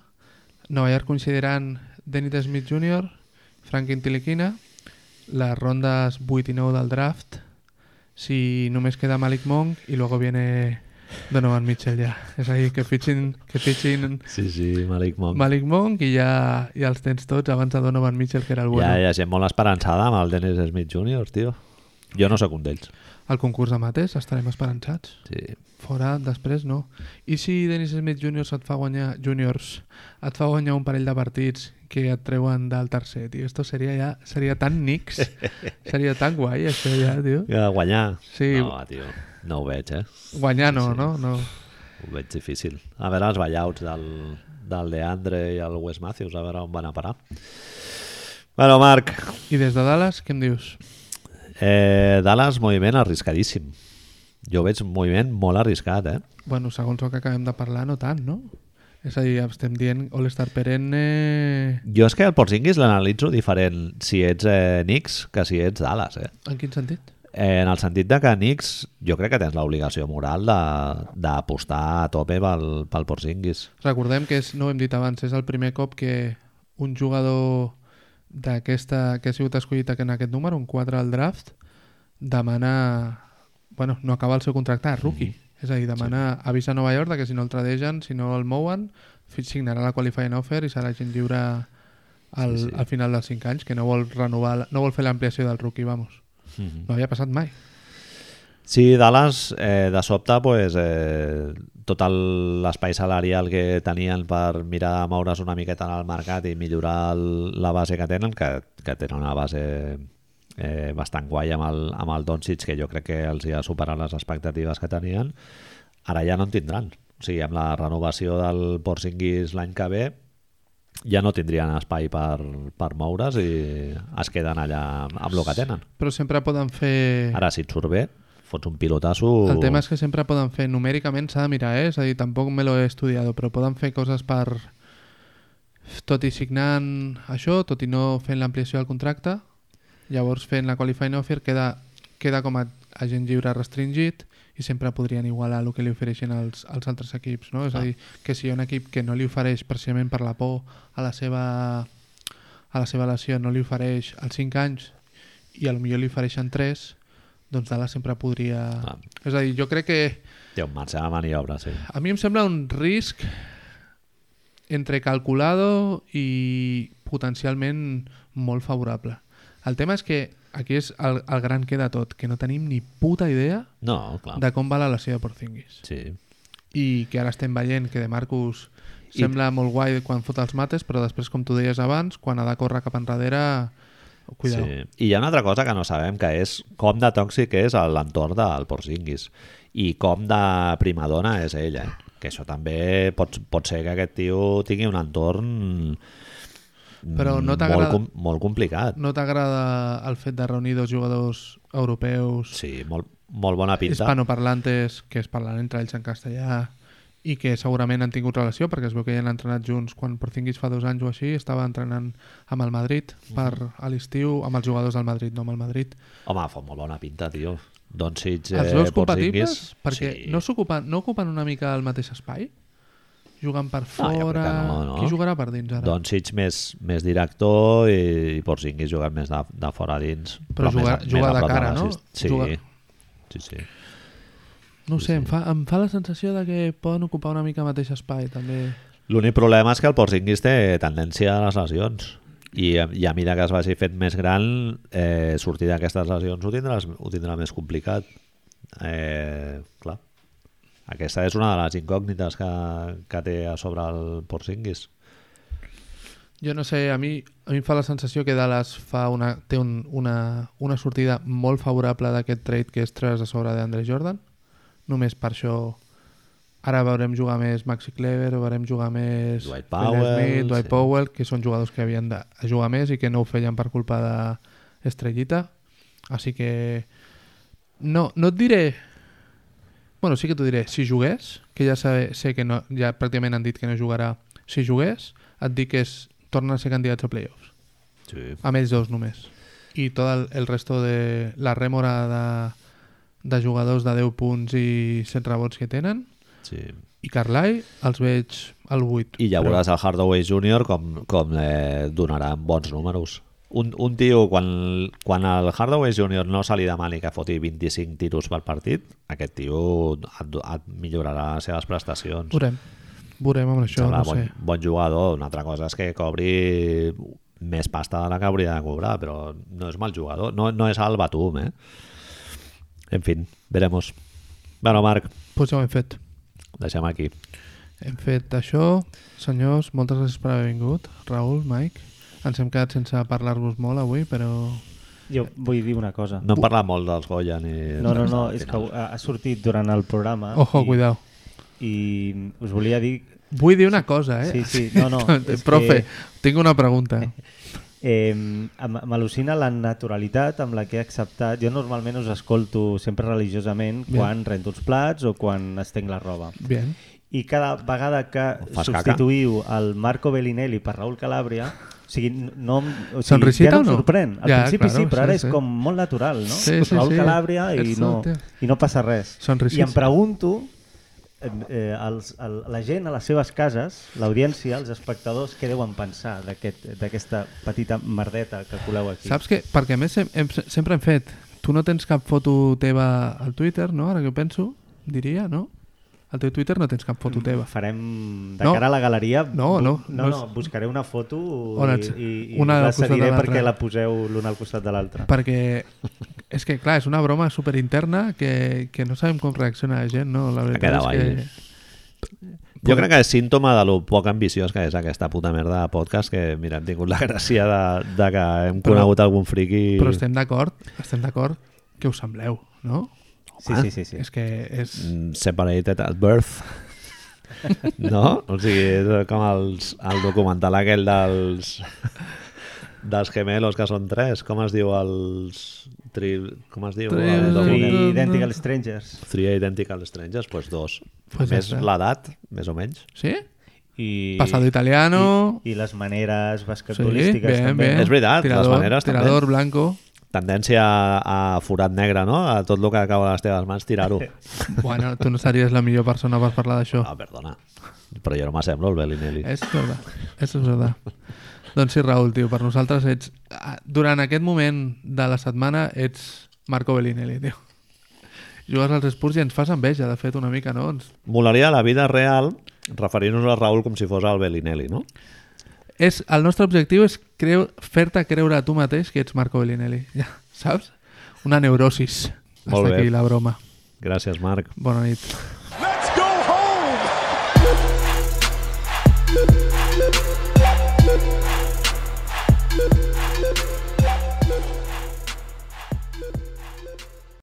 Nova York coincidiran Dennis Smith Jr., Franklin Tilikina, las rondas 8 i 9 del draft, si només queda Malik Monk y luego viene Donovan Mitchell ya. És ahí que fitxin, que fitxin Sí, sí, Malik Monk. Malik Monk i ja, ja els tens tots abans de Donovan Mitchell, que era el bueno. Hi ha, hi ha gent molt esperançada amb el Dennis Smith Jr., tio. Jo no sóc un d'ells. Al concurs de mates estarem esperançats. Sí. Fora, després no. I si Dennis Smith Juniors et fa guanyar juniors, et fa guanyar un parell de partits que et treuen del tercer, tio. Esto seria ja, seria tan nix. seria tan guai, això ja, tio. Que guanyar? Sí. No, tio, no ho veig, eh? Guanyar no, no? no. Ho veig difícil. A veure els ballouts del, del Leandre i el Wes Matthews, a veure on van a parar. Bueno, Marc, I des de Dallas, què em dius? eh, Dallas, moviment arriscadíssim. Jo veig un moviment molt arriscat, eh? Bueno, segons el que acabem de parlar, no tant, no? És a dir, estem dient All-Star perenne... Jo és que el Porzingis l'analitzo diferent si ets eh, Knicks que si ets Dallas, eh? En quin sentit? Eh, En el sentit de que Knicks jo crec que tens l'obligació moral de- d'apostar a tope pel, pel Porzingis. Recordem que és, no ho hem dit abans, és el primer cop que un jugador d'aquesta que ha sigut escollit en aquest número, un 4 al draft, demana... Bueno, no acaba el seu contracte, és rookie. És a dir, demana Mm-hmm. sí. avís a Nova York de que si no el tradeixen, si no el mouen, fi- signarà la qualifying offer i serà gent lliure al, sí, sí. al final dels 5 anys, que no vol renovar, la- no vol fer l'ampliació del rookie, vamos. Mm -hmm. No havia passat mai. Sí, Dallas, eh, de sobte, pues, eh, tot el- l'espai salarial que tenien per mirar de moure's una miqueta en el mercat i millorar el, la base que tenen, que, que tenen una base eh, bastant guai amb el, amb el Doncic, que jo crec que els hi ha superat les expectatives que tenien, ara ja no en tindran. O sigui, amb la renovació del Porzingis l'any que ve, ja no tindrien espai per, per moure's i es queden allà amb el que tenen. Però sempre poden fer... Ara, si et surt bé, fots un pilotasso... El tema és que sempre poden fer, numèricament s'ha de mirar, eh? és a dir, tampoc me lo he estudiat, però poden fer coses per, tot i signant això, tot i no fent l'ampliació del contracte, llavors fent la qualifying offer queda, queda com a agent lliure restringit i sempre podrien igualar el que li ofereixen els, els altres equips, no? És a dir, que si hi ha un equip que no li ofereix precisament per la por a la seva, a la seva lesió, no li ofereix als 5 anys i a lo millor li ofereixen 3, doncs Dallas sempre podria... Ah. És a dir, jo crec que Té un marge de maniobra, sí. a mi em sembla un risc entre calculado i potencialment molt favorable. El tema és que aquí és el, el gran que de tot, que no tenim ni puta idea No, clar. De... de com va la lesió de Porzingis. Sí. I que ara estem veient que de Marcus sembla molt guai quan fot els mates, però després, com tu deies abans, quan ha de córrer cap enrere, cuidao. Sí. Sí. I hi ha una altra cosa que no sabem, que és com de tòxic és l'entorn del Porzingis i com de primadona és ella. Eh? Que això també pot, pot ser que aquest tio tingui un entorn Però no molt, t'agrada- com, molt complicat. No t'agrada el fet de reunir dos jugadors europeus Sí, molt, molt bona pinta. hispanoparlantes que es parlen entre ells en castellà i que segurament han tingut relació perquè es veu que ja han entrenat junts quan Porzingis fa dos anys o així estava entrenant amb el Madrid per Mhm. a l'estiu amb els jugadors del Madrid, no amb el Madrid Home, fa molt bona pinta, tio. Doncs si ets els eh, veus compatibles? Porzingis... perquè sí. no, s'ocupen, no ocupen una mica el mateix espai? jugant per jo crec fora que no, no. qui jugarà per dins ara? Doncs Sitch més, més director i, i Porzingis jugant més de, de fora a dins. Però jugar- més, a- més jugar a de prop cara, no? l'assist. Sí. Jugar- sí, sí. no ho sé, em fa, em fa la sensació de que poden ocupar una mica el mateix espai també L'únic problema és que el Porzingis té tendència a les lesions i, a- i a mida que es vagi fent més gran eh, sortir d'aquestes lesions ho tindrà, ho tindrà més complicat eh, clar aquesta és una de les incògnites que, que té a sobre el Porzingis Jo no sé, a mi, a mi em fa la sensació que Dallas fa una, té un, una, una sortida molt favorable d'aquest trade que és tres a sobre d'Andre Jordan. Només per això ara veurem jugar més Maxi Clever, veurem jugar més Dwight Will Powell, Smith, Dwight sí. Powell, que són jugadors que havien de jugar més i que no ho feien per culpa d'Estrellita. Així que no, no et diré... Bueno, sí que t'ho diré. Si jugués, que ja sé, sé que no, ja pràcticament han dit que no jugarà, si jugués, et dic que es, torna a ser candidats a playoffs. sí. Amb ells dos només. I tot el, el resto de la rèmora de, de jugadors de 10 punts i 100 rebots que tenen. sí. I Carlai els veig al 8. I ja veuràs el Hardaway Junior com, com eh, donaran bons números. un, un tio, quan, quan el Hardaway Junior no se li demani que foti 25 tiros pel partit, aquest tio et, et millorarà les seves prestacions. Veurem. Veurem amb això, Serà no bon, sé. bon jugador. Una altra cosa és que cobri més pasta de la que hauria de cobrar, però no és mal jugador. No, no és el Batum, eh? En fin, veremos. Bueno, Marc, Pues ja ho hem fet. deixem aquí. Hem fet això. Senyors, moltes gràcies per haver vingut. Raül, Mike, ens hem quedat sense parlar-vos molt avui, però... Jo vull dir una cosa. No hem parlat molt dels Goya ni... No, no, no, és que ha ha sortit durant el programa Ojo, Ah, i, cuidao. i us volia dir Vull dir una cosa, eh? Sí, sí, no, no, és Profe, que- tinc una pregunta. Eh, em- M'al·lucina la naturalitat amb la que he acceptat. Jo normalment us escolto sempre religiosament Bien. quan rento els plats o quan estenc la roba. Bien. I cada vegada que Fas caca. substituïu el Marco Bellinelli per Raül Calàbria, o sigui, no, em- o sigui, Sonrisita ja no o em no? sorprèn. Al Ja, principi claro, sí, però sí, ara és sí. com molt natural, no? Sí, sí, Raül sí. Calàbria i Ets no, tu, tio. i no passa res. Sonrisita. I em pregunto eh, eh, els, el, la gent a les seves cases, l'audiència, els espectadors, què deuen pensar d'aquest- d'aquesta aquest, petita merdeta que coleu aquí? Saps que, perquè a més hem, hem, sempre hem fet, tu no tens cap foto teva al Twitter, no? Ara que ho penso, diria, no? Al teu Twitter no tens cap foto Mm. teva. Farem de No. cara a la galeria... No, no, No, no no, és- buscaré una foto On i, ets? i, i Una al la costat de seguiré l'altra. perquè la poseu l'una al costat de l'altra. Perquè és que, clar, és una broma superinterna que, que no sabem com reacciona la gent, no? La veritat quedat és ahí. que... eh? Jo crec que és símptoma de lo poc ambiciós que és aquesta puta merda de podcast que, mira, hem tingut la gràcia de, de que hem Però- conegut algun friqui... Però estem d'acord, estem d'acord que us sembleu, no? Sí, sí, sí. sí. Ah, És que és... Mm, Separated at birth. No? O sigui, és com els, el documental aquell dels dels gemelos que són tres. Com es diu els... Tri, com es diu? Tri- el documental? Three Identical Strangers. Three Identical Strangers, doncs pues dos. Pues Pues ja més està. l'edat, més o menys. Sí? I, Pasado italiano. I, I les maneres Sí, basquetbolístiques bien, també. bien. És veritat, les tirador, maneres també. Tirador blanco. Tendència a, a forat negre, no? A tot el que acaba a les teves mans, tirar-ho. Bueno, tu no series la millor persona per parlar d'això. Ah, perdona. Però jo no m'assemblo el Bellinelli. És verdad, és verdad. doncs sí, Raül, tio, per nosaltres ets... ah, Durant aquest moment de la setmana ets Marco Bellinelli, tio. Jugues als Spurs i ens fas enveja, de fet, una mica, no? Ens... Molaria la vida real referint-nos a Raül com si fos el Bellinelli, no? És, el nostre objectiu és creu... fer-te creure a tu mateix que ets Marco Bellinelli, ja, saps? Una neurosis. Molt Hasta bé. aquí la broma. Gràcies, Marc. Bona nit.